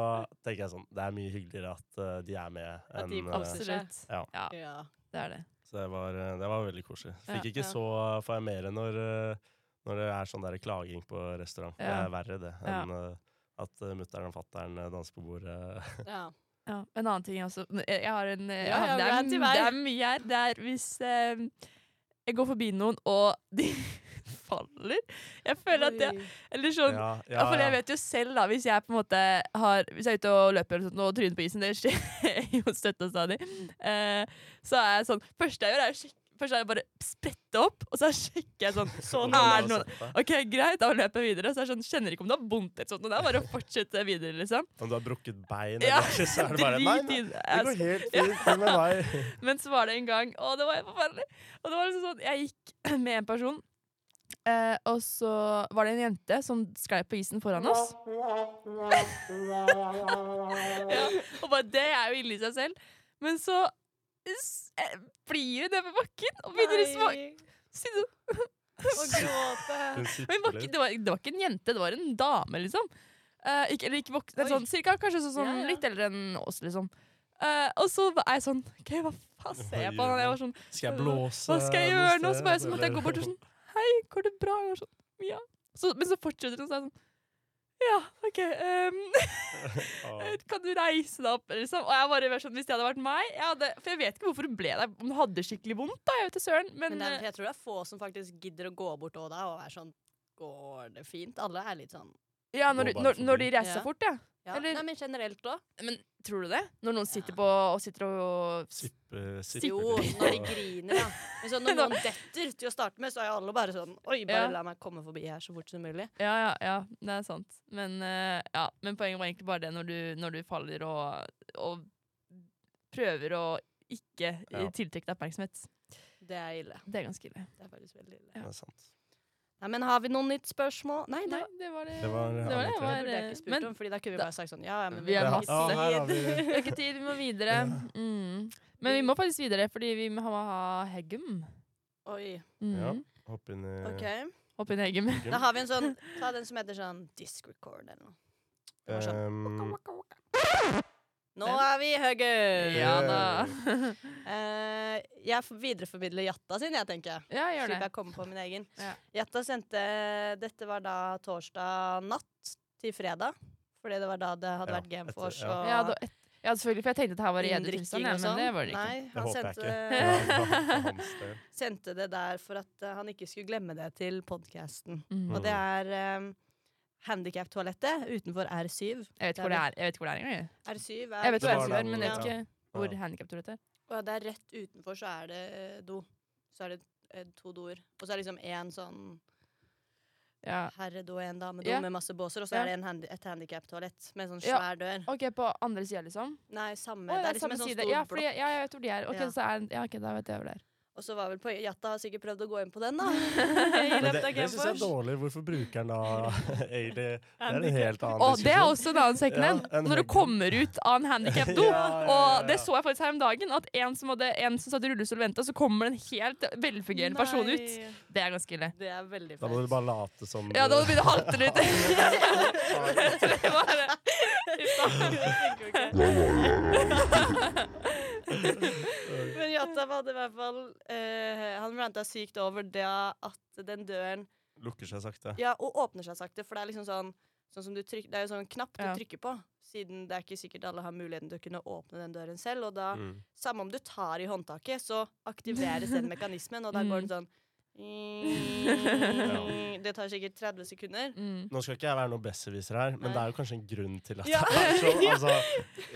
tenker jeg sånn Det er mye hyggeligere at eh, de er med At enn de eh, koser seg. Absolutt. Ja. ja, Ja. det er det. Så det var, eh, det var veldig koselig. Fikk Ja, ikke ja. så for jeg mer når eh, Når det er sånn der klaging på restaurant. Det Ja. er verre, det, Ja. enn eh, at uh, mutter'n og fatter'n eh, danser på bordet. Ja. Ja, en annen ting også. Jeg har en jeg Ja, har- ja, det, er, rant i m- vei. det er mye her. Det er hvis eh, jeg går forbi noen, og de faller. Jeg føler at jeg Oi. Eller sånn ja, ja, ja, for jeg ja. vet jo selv da, hvis jeg på en måte har, hvis jeg er ute og løper eller sånt, og tryner på isen, det skjer jo støtt og stadig, eh, så er jeg sånn, først jeg gjør er å sjek- først er jeg bare sprette opp, og så sjekker jeg sånn, Om sånn noen er har det noen. sett deg. Ok, greit, da løper jeg videre, og så er jeg sånn, kjenner ikke om det har vondt eller sånt, og det er bare å fortsette videre, liksom. Om du har brukket bein Ja, eller ikke, så er det bare Nei, drit nei i det. det går helt fint det med meg. Men så var det en gang Å, det var helt forferdelig. Og det var liksom sånn, jeg gikk med en person, eh, og så var det en jente som sklei på isen foran oss. ja, og bare, det er jo ille i seg selv. Men så s- eh, blir hun nede på bakken og begynner å smake. Nei, Sitte- Å gråte. Hun Men sitter var ikke, litt. det, var, det var ikke en jente, det var en dame, liksom. Eh, ikke, eller ikke voksen, Oi. sånn, cirka, kanskje sånn, sånn, Ja, ja. litt eldre enn oss, liksom. Eh, og så er jeg sånn OK, hva faen ser jeg på? Oi, han? Jeg ja. var sånn Skal jeg blåse hva skal jeg gjøre nå? noe Så bare så sted, måtte jeg gå bort og eller? sånn Hei, går det bra? Og jeg var sånn, ja. Så, men så fortsetter hun sånn Ja, OK. ehm, Å, kan du reise deg opp? eller Liksom? Og jeg bare var sånn, Hvis det hadde vært meg jeg hadde, For jeg vet ikke hvorfor hun ble der. Om hun hadde skikkelig vondt, da. Jeg vet ikke søren. Men, Men det er, eh, jeg tror det er få som faktisk gidder å gå bort også da og være sånn Går det fint? Alle er litt sånn eh, ja, Gå når, du- bare når, forbi. når de reiser Ja. seg fort, ja. ja. Eller- Nei, men generelt òg. Men tror du det? Når noen sitter Ja. på og sitter og sippe- sippe Jo, litt når de og- griner, ja. Men sånn, når noen detter til å starte med, så er jo alle bare sånn Oi, bare Ja. la meg komme forbi her så fort som mulig. Ja, ja, ja. Det er sant. Men, eh, ja. men poenget var egentlig bare det når du, når du faller og, og prøver å ikke Ja. eh, tiltrekke deg oppmerksomhet. Det er ille. Det er ganske ille. Det er faktisk veldig ille. Det er sant. Nei, men har vi noen nytt spørsmål? Nei, det, Nei, det var det. Det var det alle det tre. det var, burde jeg ikke eh, spurt men om, Fordi da kunne vi da- bare sagt sånn Ja, ja, men Vi vi har har ikke Ja. masse. Ja, her har tid. vi har ikke tid, vi må videre. Mm. Men vi må faktisk videre, fordi vi må ha Heggum. Oi, Mm. Ja. Hopp inn i ok. Hopp inn i Heggum. Da har vi en sånn Ta den som heter sånn disc record eller noe. Det var sånn. Ehm, Nå er vi i høgget! Ja da. Eh, jeg f- videreformidler Jatta sin, jeg, tenker jeg. ja, gjør Slipper det. jeg å komme på min egen. Ja. Jatta sendte Dette var da torsdag natt til fredag. Fordi det var da det hadde Ja, vært etter- Game Force ja. og Ja, da, et, ja, selvfølgelig, for jeg tenkte at her var det edru inndrikking tilstand, og ja, men sånn. det var det ikke. Nei, det han håper jeg sendte ikke. det, Ja, for hans del. sendte det der for at eh, han ikke skulle glemme det til podkasten. Mm. Og det er um, handikaptoalettet utenfor R7. Jeg vet ikke hvor det er, jeg vet ikke hvor det er engang. jeg. R7 er Jeg vet Det hvor var det er, den- men jeg vet ja. ikke hvor Ja. handikaptoalettet er. Og det er rett utenfor, så er det eh, do. Så er det eh, to doer. Og så er det liksom én sånn Ja. herredo og én damedo Ja. med masse båser, og så Ja. er det en handi et handikaptoalett med en sånn Ja. svær dør. OK, på andre sida, liksom? Nei, samme. Å, ja, det er liksom samme en sånn side. stor Ja, fordi, blokk. ja, jeg vet hvor de er. Ok, Ja. så er ja, ok, da vet jeg hvor det er. Og så var vel på Jatta har sikkert prøvd å gå inn på den, da. I Men det, det løpet av syns jeg er Gameforce. dårlig. Hvorfor bruker han da egentlig Det er en helt annen Å, det er diskusjon. også en annen sånn. second Ja, hand. en Når du høyde. kommer ut av en handikapdo. Ja, ja, ja, ja. Og det så jeg faktisk her om dagen, at en som, hadde, en som satt i rullestol og venta, så kommer det en helt velfungerende person ut. Nei, Det er ganske ille. Det er veldig Da må flaut. du bare late som Ja, da begynner det å halte litt. det var det. Men Jatta hadde i hvert fall eh, Han ranta sykt over det at den døren lukker seg sakte. Ja, og åpner seg sakte, for det er liksom sånn Sånn som du tryk, det er jo sånn knapp du Ja. trykker på, siden det er ikke sikkert alle har muligheten til å kunne åpne den døren selv. Og da, Mm. samme om du tar i håndtaket, så aktiveres den mekanismen, og da går den sånn Det tar sikkert 30 sekunder. Mm. Nå skal ikke jeg være noen besserwisser her, men Nei. det er jo kanskje en grunn til at Ja. det er sånn. Altså,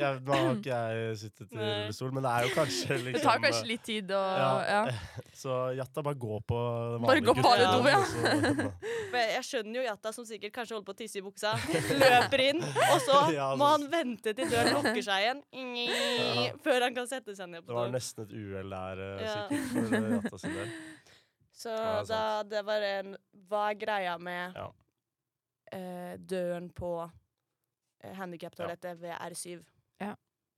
jeg, nå har ikke jeg sittet i Nei. rullestol, men det er jo kanskje liksom Det tar kanskje litt tid å ja. Ja. Så Jatta, bare gå på vanlig Bare gå på alle do, ja. For jeg, jeg skjønner jo Jatta, som sikkert kanskje holder på å tisse i buksa, løper inn, og så Ja, altså. må så- han vente til døren lukker seg igjen, før han kan sette seg ned Det var på do. nesten et uhell der, eh, Ja. sikkert, for eh, Jatta sin del. Så Ja, det er da, det var en Hva er greia med Ja. eh, døren på eh, handikaptoalettet ved R7?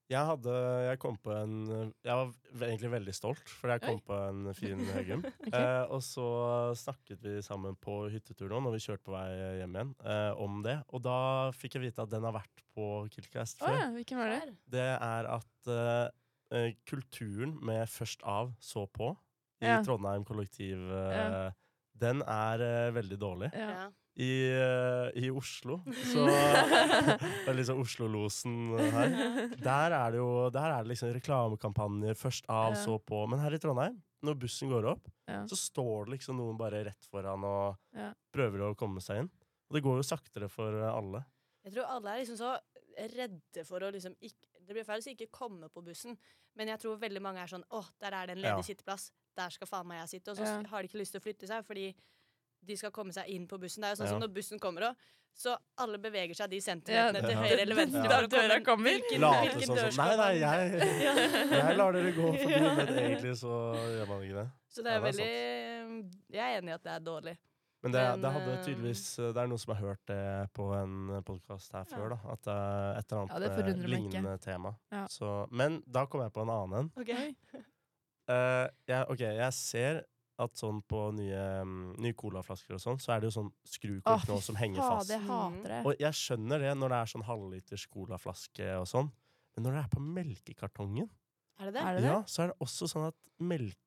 Jeg, hadde, jeg kom på en Jeg var v- egentlig veldig stolt, for jeg kom Oi. på en fin Høgum. eh, og så snakket vi sammen på hyttetur nå, når vi kjørte på vei hjem igjen, eh, om det. Og da fikk jeg vite at den har vært på Kiltcast Å før. ja, hvilken var det? Det er at eh, eh, kulturen med Først av så på i Ja. Trondheim kollektiv eh, Den er eh, veldig dårlig. Ja. Ja. I, eh, i Oslo, så Det er liksom Oslo-losen her. Der er det jo der er det liksom reklamekampanjer først av, Ja. så på. Men her i Trondheim, når bussen går opp, Ja. så står det liksom noen bare rett foran og Ja. prøver å komme seg inn. Og det går jo saktere for eh, alle. Jeg tror alle er liksom så redde for å liksom ikke Det blir feil å si ikke komme på bussen, men jeg tror veldig mange er sånn Å, der er det en Ja. ledig sitteplass. Der skal faen meg jeg sitte. Og så Ja. s- har de ikke lyst til å flytte seg fordi de skal komme seg inn på bussen. Det er jo Ja. sånn som når bussen kommer òg, så alle beveger seg de centimeterne Ja. til Ja. høyre eller venstre. Ja. for å komme Døra inn. kommer. Hvilken, Late hvilken sånn dør som skal Nei, nei, man- jeg, jeg lar dere gå forbi, Ja. men egentlig så gjør man ikke det. Så det er Ja, det er veldig Jeg er enig i at det er dårlig. Men det, Men, det hadde eh, tydeligvis Det er noen som har hørt det på en podkast her før, da. At det er et eller Ja, det annet eh, forundrer meg ikke. lignende tema. Ja. Så, men da kom jeg på en annen en. Okay. Eh, jeg, ok, jeg ser at sånn på nye, mm, nye colaflasker og sånn, så er det jo sånn Å, skrukort fy nå som henger faen, fast. jeg hater det. Og jeg skjønner det når det er sånn halvliters colaflaske og sånn, men når det er på melkekartongen, Er det det? Er det det? ja, så er det også sånn at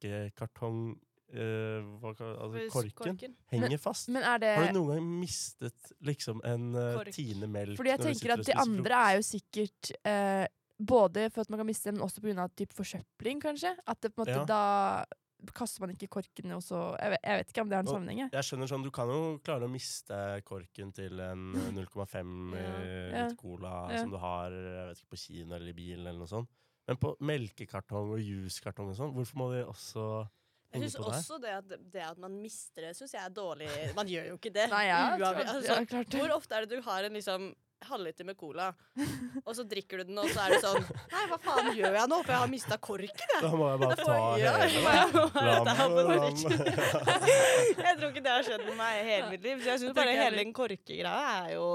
melkekartong... eh, hva, ka- altså korken henger fast. Men eh, er det Har du noen gang mistet liksom en eh, Kork. tine melk? Fordi jeg når du tenker sitter at og de spiser andre frokost? er jo sikkert eh, Både for at man kan miste dem, men også pga. typ forsøpling, kanskje. At det på en måte Ja. da kaster man ikke korkene, og så jeg, vet- jeg vet ikke om det har en Og- sammenheng. jeg. Jeg skjønner sånn, Du kan jo klare å miste korken til en eh, 0,5 eh, Ja. litt cola Ja. som du har jeg vet ikke, på kino eller i bilen. eller noe sånt. Men på melkekartong og juicekartong og sånn, hvorfor må de også Jeg henge syns på der? også det at, det at man mister det, syns jeg er dårlig. Man gjør jo ikke det. Nei, jeg, Uavhengig- klart, altså, ja, klart. hvor ofte er det du har en liksom halvliter med cola, og så drikker du den, og så er du sånn Nei, hva faen gjør jeg nå? For jeg har mista korken. Da må jeg bare ta Ja, hele jeg må ha dette her på lam- kork. Jeg tror ikke det har skjedd med meg i hele mitt liv. Så jeg Jeg syns tror bare ikke jeg hele den korkegreia er jo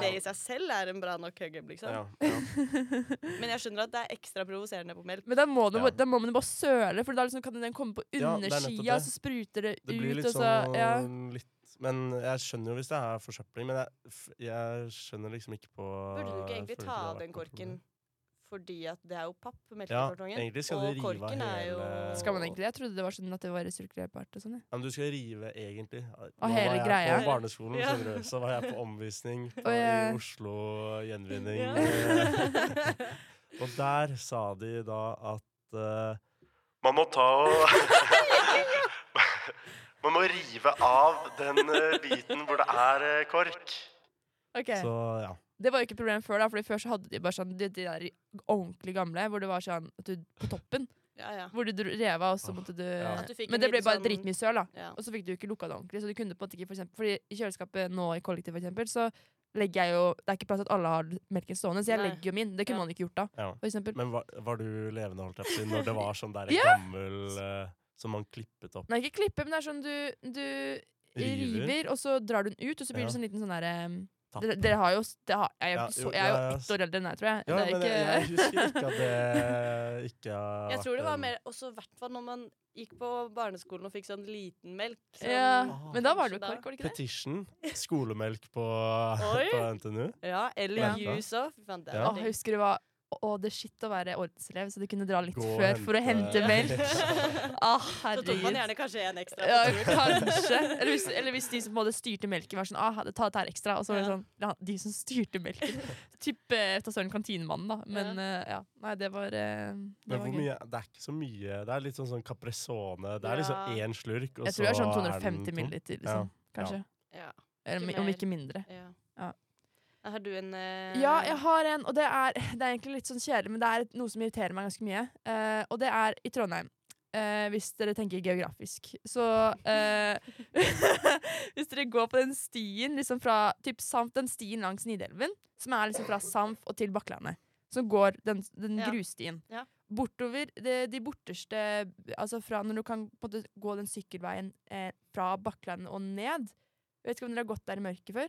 Det i seg selv er en bra nok hugger, liksom. Ja, ja. Men jeg skjønner at det er ekstra provoserende på melk. Men da må, du, Ja. da må man jo bare søle, for da liksom kan den komme Ja, på det er nettopp undersida, og det. så spruter det, Det blir ut. litt Og så, sånn ja. litt, Men jeg skjønner jo hvis det er forsøpling, men jeg, f- jeg skjønner liksom ikke på Burde du ikke egentlig jeg føler ta det har av den vært noe problem. korken? Fordi at det er jo papp, Ja, melkekartongen. egentlig skal og du rive av korken er jo hele- Skal man egentlig Jeg trodde det var sånn at det var resirkulerbart og sånn. jeg. Ja, men du skal rive, egentlig. Og Nå hele var jeg greia. på barneskolen, Ja. skjønner du. Så var jeg på omvisning på, jeg- i Oslo Gjenvinning. Ja. og der sa de da at eh, Man må ta og Man må rive av den eh, biten hvor det er eh, kork. Ok. Så ja. Det var jo ikke et problem før, da, Fordi før så hadde de bare sånn de, de der ordentlig gamle, hvor det var sånn at du, på toppen, Ja, ja. hvor du dro- rev av, og så Åh, måtte du, ja. At du fikk en Men det ble liten bare sånn- dritmye søl, da. ja. Og så fikk du ikke lukka det ordentlig. Så du kunne på en måte ikke for eksempel, Fordi i kjøleskapet nå i kollektiv, for eksempel, så legger jeg jo Det er ikke plass til at alle har melken stående, så jeg Nei. legger jo min. Det kunne Ja. man ikke gjort da, Ja. for eksempel. Men var, var du levende, holdt jeg på å si, når det var sånn der Ja. gammel eh, som man klippet opp? Nei, ikke klippe, men det er sånn du, du river. River. og så drar du den ut, og så blir det Ja. sånn liten sånn derre Tapp. dere, dere har jo s- det har, Jeg er jo, Ja, ikke jo, så, jeg er jo ja, ja. ett år eldre enn deg, tror Ja, jeg. det er men ikke, jeg, jeg husker ikke at det ikke har Jeg tror det vært var en- mer også i hvert fall når man gikk på barneskolen og fikk sånn liten melk. Sånn, ja, men da var det jo Kanskje da. kork, var det ikke det? Petition. Skolemelk på, Oi. på NTNU. ja eller Ja. juice òg. Fy faen, det Ja. er Åh, jeg digg. husker det var å, det er shit å være ordenselev, så du kunne dra litt Gå og før for å hente- hente melk. Ah, Så tok man herregud. gjerne kanskje en ekstra. på Ja, tur. kanskje. Eller hvis, eller hvis de som både styrte melken, var sånn ah, ta dette her ekstra. Og så var det Ja. sånn ja, De som styrte melken. Typ eh, ta søren kantinemannen, da. Men eh, ja. Nei, det var, eh, det Men var hvor gøy. mye, det er ikke så mye. Det er litt sånn, sånn Capressone. Det er liksom Ja. én slurk, og Jeg tror det er sånn den 250 tom. milliliter, liksom. Kanskje. Ja. Eller, Ikke mi- om mer. ikke mindre. Ja. Ja. Har du en eh, Ja, jeg har en, og det er, det er egentlig litt sånn kjedelig, men det er noe som irriterer meg ganske mye. Eh, og det er i Trondheim. Eh, hvis dere tenker geografisk. Så eh, Hvis dere går på den stien liksom fra typ Samf, den stien langs Nidelven, som er liksom fra Samf og til Bakklandet, så går den, den Ja. grusstien. Ja. Bortover de, de borteste Altså fra når du kan på en måte gå den sykkelveien eh, fra Bakklandet og ned. Vet ikke om dere har gått der i mørket før?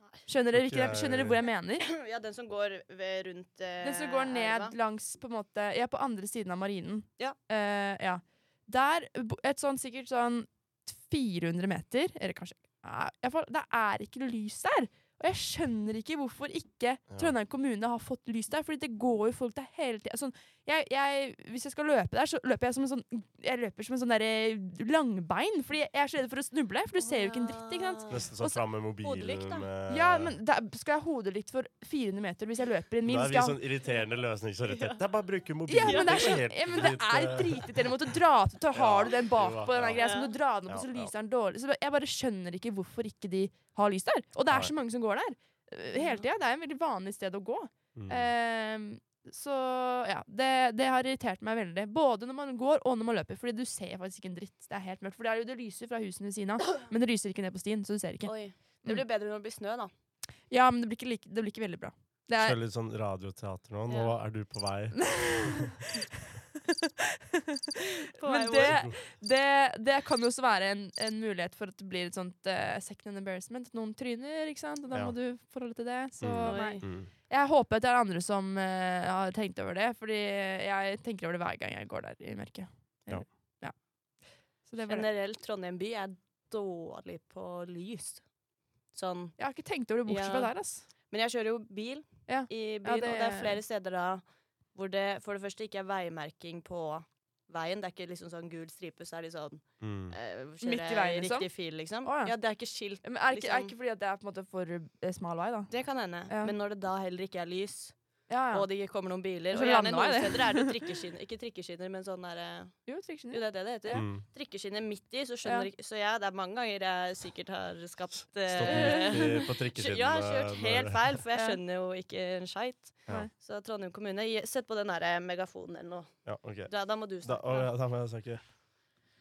Nei. Skjønner dere, Tror ikke ikke, jeg- skjønner dere hvor jeg mener? ja, den som går ved, rundt eh, Den som går elva. ned langs på en måte Ja, på andre siden av marinen. Ja. Eh, ja. Der bo- Et sånn sikkert sånn 400 meter, eller kanskje nei, i hvert fall, Det er ikke lys der! Og Og jeg skjønner ikke hvorfor ikke Trondheim kommune har fått lys der, fordi det går jo folk der hele tida. Sånn, jeg, jeg, hvis jeg skal løpe der, så løper jeg som en sånn Jeg løper som en sånn der eh, langbein, fordi jeg er så redd for å snuble, for du ser jo ikke en dritt, ikke Ah. sant. Nesten Og sånn så- fram med mobilen Hodelykt, da. med Ja, men da skal jeg ha hodelykt for 400 meter hvis jeg løper en mil? Da er Skal vi jeg ha sånn irriterende løsningsorientert. Det er bare å bruke Ja, mobilen. men det er, jo så, helt ja, men det er dritt, eh, dritete. Eller måtte dra til, ta, har du den bakpå, den der Ja. greia, så må du dra den opp, Ja, og så ja. lyser den dårlig. Så jeg bare skjønner ikke hvorfor ikke de har lys der. Og det er så mange som går der. eh, Hele tida. Det er en veldig vanlig sted å gå. mm. Ehm, så ja, det, det har irritert meg veldig. Både når man går og når man løper. Fordi du ser faktisk ikke en dritt. Det er helt mørkt. For det, er jo, det lyser fra husene ved siden av, men det lyser ikke ned på stien, så du ser ikke. Oi. Det blir bedre når det blir snø, da. Ja, men det blir ikke, like, det blir ikke veldig bra. Det er, Kjør litt sånn radioteater nå. Nå Ja. er du på vei. men vei det, det, det kan jo også være en, en mulighet for at det blir et sånt eh, second embarrassment. At noen tryner, ikke sant? og da Ja. må du forholde til det. Så Mm. nei. Mm. Jeg håper at det er andre som eh, har tenkt over det, fordi jeg tenker over det hver gang jeg går der i mørket. Ja. Ja. Så det var det. Generelt Trondheim by er dårlig på lys. Sånn. Jeg har ikke tenkt over det bortsett fra Ja. der, ass. Men jeg kjører jo bil Ja. i byen, Ja, og det- det er flere steder da hvor det for det første ikke er veimerking på veien. Det er ikke liksom sånn gul stripe, så er det sånn Mm. eh, Midt i veien, liksom? Riktig fil, liksom. Å, ja. ja, det er ikke skilt Men er det ikke, er det Liksom- ikke fordi at det er på en måte for eh, smal vei, da? Det kan hende. Ja. Men når det da heller ikke er lys, Ja, ja. og det ikke kommer noen biler Så Og gjerne noen landevei, det. steder er det trikkeskinner Ikke trikkeskinner, men sånn derre Jo, triksjen, Jo, ja. det er det det heter. Mm. Trikkeskinner midt i, så skjønner Ja. ikke Så ja, det er mange ganger jeg sikkert har skapt Stoppet eh, midt i- på kjø- trikkeskinnene. Ja, jeg har kjørt helt feil, for jeg Ja. skjønner jo ikke en skeit. Ja. Så Trondheim kommune, gi- sett på den derre megafonen eller noe. Ja, ok. Da, da må du Da, å, snakke. ja, da må jeg snakke.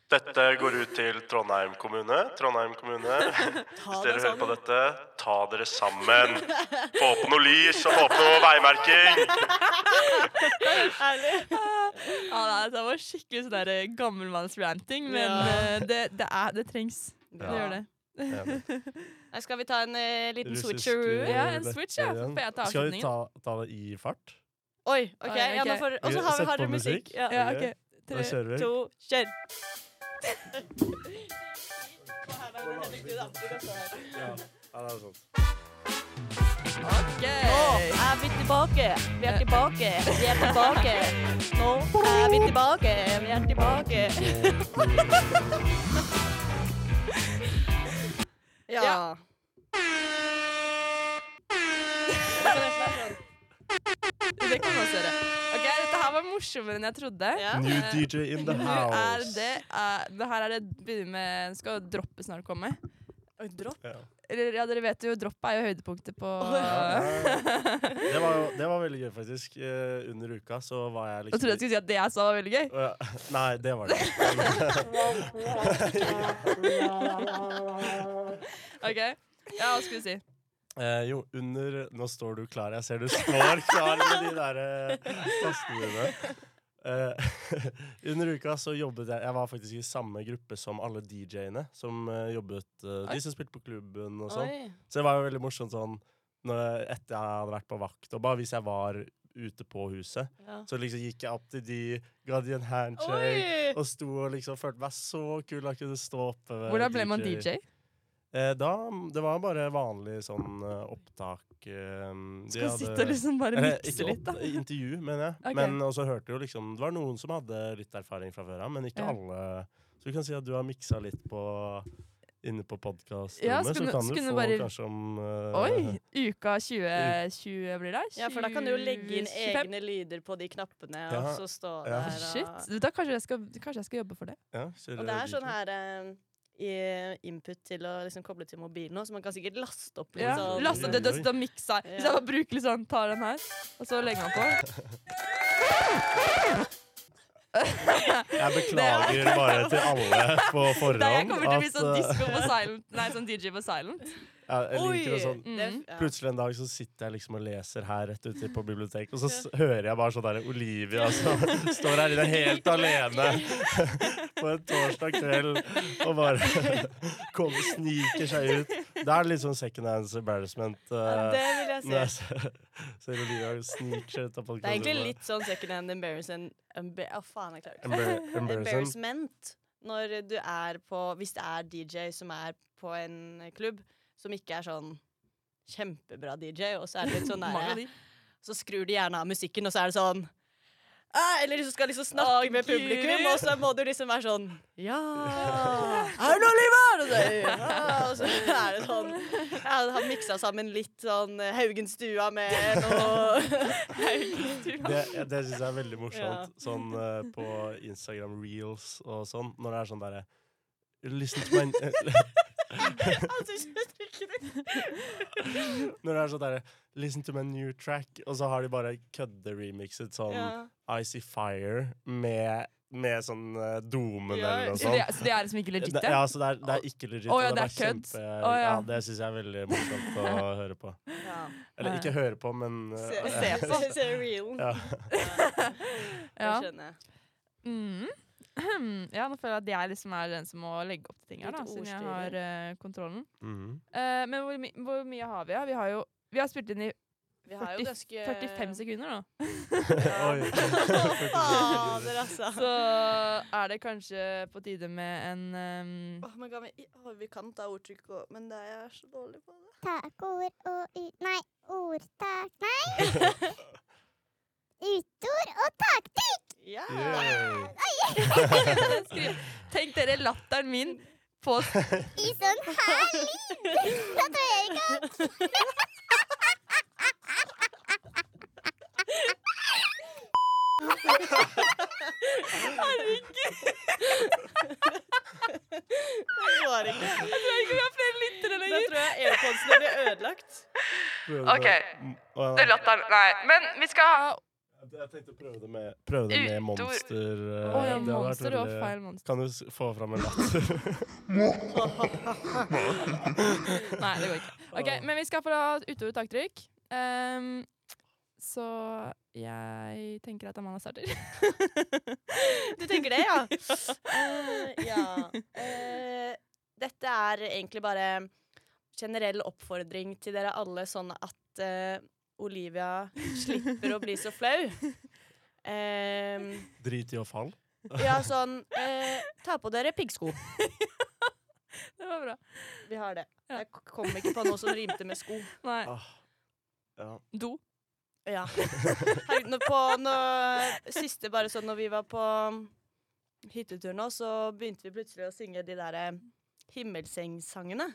Dette går ut til Trondheim kommune. Trondheim kommune, Ta sånn. hvis deg dere hører på sammen. sånn. dette, ta dere sammen. Få opp noe lys og få opp noe veimerking. Ærlig. Ja, nei, det var skikkelig sånn der, eh, gammelmanns-ranting, men Ja. eh, det, det, er, det trengs. Ja. Det gjør det. Nei, skal vi ta en eh, liten Russisk, switcheroo? eh, Ja, en dette switch, ja, igjen. får jeg ta Skal vi avslutningen? ta, ta det i fart? Oi, OK. Oi, Ja, nå ok. får, og så har Sett vi på hardere musikk. musikk. Ja. Ja, Ok. ok. Da kjører vi. to, kjør! Ja, ja, det er sant. Ok. Nå er vi tilbake. Vi er tilbake. Vi er tilbake. Nå er vi tilbake. Vi er tilbake. Ja. Det kan man også gjøre. Ok, Dette her var morsommere enn jeg trodde. Ja. New DJ in the Nå er house. det, eh, det her er det begynner med Nå skal droppet snart komme. Oi, dropp. Ja. Eller ja, dere vet jo, droppet er jo høydepunktet på Ja, Det var, jo- det var veldig gøy, faktisk. Eh, under uka så var jeg Jeg liksom trodde jeg skulle si at det jeg sa var veldig gøy. Å, ja. Nei, det var det. Ok, ja, hva skulle du si? Eh, jo, under Nå står du klar. Jeg ser du står klar med de der eh, tastene dine. Eh, under uka så jobbet jeg Jeg var faktisk i samme gruppe som alle DJ-ene som eh, jobbet eh, Oi. De som spilte på klubben og sånn. Oi. Så det var jo veldig morsomt sånn når jeg, etter jeg hadde vært på vakt, og bare hvis jeg var ute på huset, Ja. så liksom gikk jeg opp til de, ga de en handshake Oi. og sto og liksom følte meg så kul. Jeg kunne stå oppe ved Hvordan ble man DJ? Eh, da, det var bare vanlig sånn eh, opptak. Eh, de Skal hadde- sitte og liksom bare Eller, mikse ikke litt, da. opp- eh, Intervju, mener jeg. Ok. Men også hørte jo liksom Det var noen som hadde litt erfaring fra før av, men ikke Ja. alle. Så du kan si at du har miksa litt på Inne på podkastrommet, Ja, så skulle- kan du skulle få bare- kanskje om eh, Oi! Uka 2020 blir det? Ja, for da kan du jo legge inn 2025. egne lyder på de knappene, og Ja. så stå Ja. der og Shit. Da kanskje jeg skal, kanskje jeg skal jobbe for det. Ja, kjøre Og det er sånn DJ. her eh, i- input til å liksom koble til mobilen òg, så man kan sikkert laste opp litt Ja. sånn. Laste det, det, det Ja. miksa. Hvis jeg bare bruker litt sånn, tar den her, og så legger man på. Jeg beklager bare til alle på forhånd Nei, jeg sånn. kommer til å bli sånn at, eh, disco på silent. Nei, sånn DJ på silent. ja, jeg liker det sånn Mm. Det- ja. Plutselig en dag så sitter jeg liksom og leser her rett ute på biblioteket, og så s hører jeg bare sånn der Olivia som står her inne helt alene på en torsdag kveld og bare kommer, sniker seg ut. Det er litt sånn second hands embarrassment. Ja, eh, Det vil jeg når jeg si. ser, ser Olivia sniker seg ut av Det er egentlig podkasten. litt sånn second hand embarrassment embar Å, faen, jeg klarer ikke. Embarrassment. Embarrassment når du er på Hvis det er DJ som er på en klubb som ikke er sånn kjempebra DJ, og så er det litt sånn Mange der, av de. Så skrur de gjerne av musikken, og så er det sånn «Ah», eller liksom skal liksom snakke Å, med Gud. publikum, og så må du liksom være sånn Ja. Er det noe liv her? Og så, ja, og så er det sånn ja, Han miksa sammen litt sånn eh, Haugenstua med noe Det, det syns jeg er veldig Ja. morsomt. Sånn eh, på Instagram reels og sånn, når det er sånn derre Listen to my Altså, ikke det. Når det er sånn derre Listen to my new track, og så har de bare kødde-remixet sånn Ja. Icy Fire med, med sånn eh, domene Ja, eller noe Så sånt. det, er- så det er liksom ikke legit, Det, ja, så det er, det er ikke legit. Å, ja, og det er bare kødd. kjempe- Å, ja. ja, det syns jeg er veldig morsomt å høre på. Ja. Eller ikke høre på, men Se, eh, se på. Se, se realen. Ja. Ja. Ja. Det skjønner jeg. Mm. ja, nå føler jeg at jeg liksom er den som må legge opp til ting her, da, Litt siden jeg ordstyrer. har eh, kontrollen. mhm. Eh, men hvor, my hvor mye har vi? Ja? Vi har jo vi har spilt inn i Vi har jo 40 ganske 45 sekunder nå. Oi. Fader, altså. Så er det kanskje på tide med en ehm, Åh, men kan vi, åh, vi kan ta ordtrykk òg, men det er jeg er så dårlig på det. Takord og u... Nei, ordtak. Nei! Utord og taktikk! Ja! Yay. Skriv- Tenk dere latteren min på I sånn her lyd! Da tror jeg ikke at Det går ikke. Jeg tror ikke vi har flere lyttere Da tror jeg airpodsene blir ødelagt. Prøve det. Ok. Mm, å, ja. Latteren Nei, men vi skal ha Jeg tenkte å prøve det med, prøve det med Utord. monster. eh, Å ja, det hadde vært monster. Det var veldig- feil monster. Kan du s- få fram en latter? Nei, det går ikke. Ok, Men vi skal få ha utord og taktrykk. Ehm, så jeg tenker at Amanda starter. Du tenker det, ja? Eh, ja. Eh, dette er egentlig bare generell oppfordring til dere alle, sånn at eh, Olivia slipper å bli så flau. Eh, Drit i å falle. ja, sånn eh, Ta på dere piggsko. Det var bra. Vi har det. Ja. Jeg k- kom ikke på noe som rimte med sko. Nei. Ah, ja. Do. Ja. Herregud, nå på nå, siste bare sånn når vi var på hyttetur nå, så begynte vi plutselig å synge de der eh, himmelsengsangene.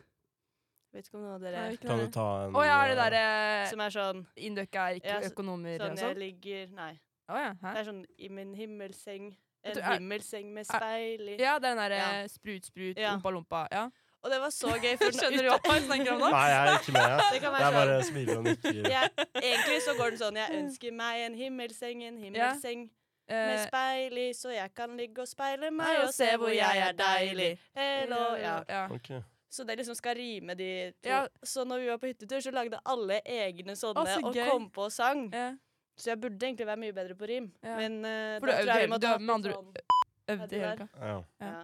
Vet ikke om noen av dere Kan du Å ta en eh, ja, er det derre som er sånn Indøkka er ikke Ja, så- økonomer Sånn og jeg sånn? ligger Nei. Å ja. Hæ? Det er sånn i min himmelseng. Jeg En tror- er- himmelseng med er- speil i Ja, det er den derre Ja. sprut, sprut, Ja. ompa, lompa. Ja. Og det var så gøy. For den Skjønner du ut- hva jeg snakker om nå? Nei, jeg er ikke med. Jeg, Det kan jeg være bare sånn. smiler og nikker. Jeg, egentlig så går den sånn Jeg ønsker meg en himmelseng, en himmelseng med Eh, speil i, så jeg kan ligge og speile meg og se hvor jeg er deilig. Hello, ja. ja. Ok. Så det liksom skal rime de to. Ja. Så når vi var på hyttetur, så lagde alle egne sånne så og gøy. kom på og sang. ja. Så jeg burde egentlig være mye bedre på rim. Ja. Men eh, For da du tror jeg vi øvde- måtte du ha øvde med litt andre- sånn- Øvde det hele der. uka. Ja. ja. ja.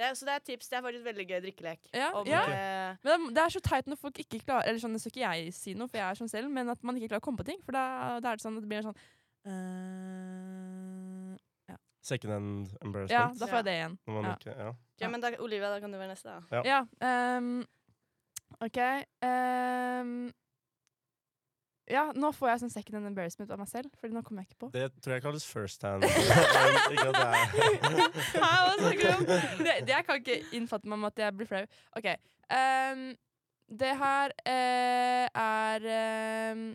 Det er, så det er et tips. Det er faktisk et veldig gøy drikkelek. Ja, Om, ja. eh, Men det- det er så teit når folk ikke klarer Eller sånn, det skal ikke jeg si noe, for jeg er sånn selv, men at man ikke klarer å komme på ting. For da, da er det sånn at det blir sånn eh, Second end Ja, embarrassment. da får jeg det igjen. Når man ja. ikke Ja. ja, men da, Olivia, da kan du være neste, da. Ja. ehm, OK. ehm, ja, nå får jeg sånn second hand embarrassment av meg selv, Fordi nå kommer jeg ikke på. Det tror jeg kalles first hand. ikke at det er Hæ, hva snakker du om? Det, det jeg kan ikke innfatte meg med at jeg blir flau. Ok, ehm, Det her eh, er ehm,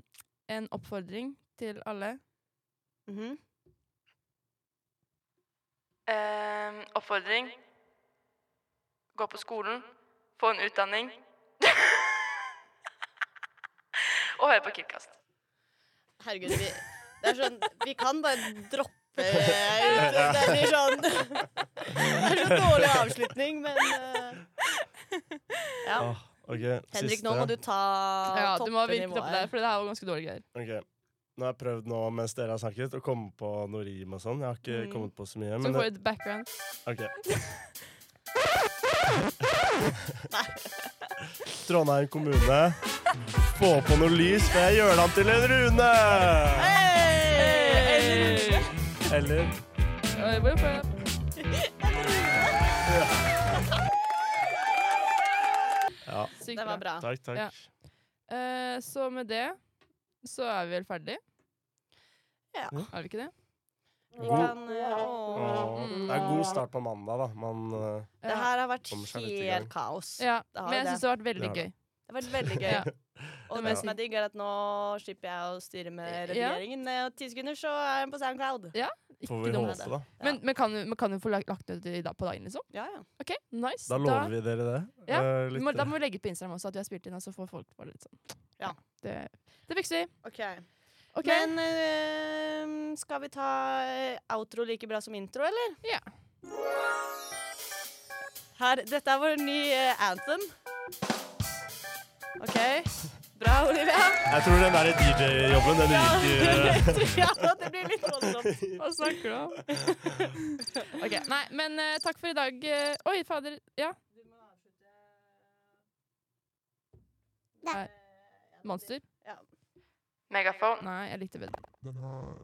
en oppfordring til alle. Mhm. Ehm, oppfordring. Gå på skolen. Få en utdanning. Og høre på Kidkast. Herregud, vi, det er sånn Vi kan bare droppe eh, ut. Det blir sånn Det er så dårlig avslutning, men eh, Ja. Åh, ok, Henrik, siste. nå må du ta Ja, du må virkelig toppenivået toppe det, her. for det her var ganske dårlige greier. Ok. Nå har jeg prøvd nå mens dere har snakket, å komme på noe rim og sånn. Jeg har ikke Mm. kommet på så mye. Så Men vi får det, et background. ok. Trondheim kommune. Få på noe lys, for jeg gjør det om til en Rune! Hey! Eller Oi, hvorfor- Ja. Sykt Den var bra. Takk, takk. Ja. Eh, så med det så er vi vel ferdig. Ja. Er vi ikke det? Vi God- kan, eh, åh. Åh, Mm. Det er god start på mandag, da. Man eh, Det her har vært Kommer seg litt i gang. helt kaos. Eh, Ja, Da har men vi jeg det. syns det har vært veldig Det har gøy. Det har vært veldig gøy. Ja. Og det men- som er digg, er at nå slipper jeg å styre med Ja. redigeringen. eh, Og ti sekunder, så er den på SoundCloud. får Ikke vi dumt. håpe, da. Ja. Men, men kan, men kan du få lagt, lagt ut i dag på dagen, liksom? Ja, ja. OK, nice. Da lover vi dere det. Ja, Eh, Da, litt- må, da må vi legge ut på Instagram også at vi har spilt inn, og så får folk bare litt sånn Ja. Det, det fikser vi. Ok. OK. Men eh, skal vi ta eh, outro like bra som intro, eller? Ja. Her, dette er vår nye eh, anthem. OK. Bra, Olivia. Jeg tror den der DJ-jobben, den eh. ryker. ja, det blir litt voldsomt. Hva snakker du om? OK. Nei, men eh, takk for i dag. eh, oi, fader. Ja. Nei. Monster? Eh, Ja. Megafon? Nei, jeg likte bedre. Den her,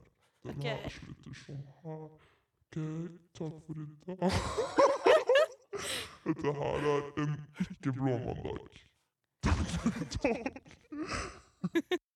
den Ok. her slutter sånn her. Ok, takk for i dag. Dette her er en ikke blå mandag. Takk for i dag.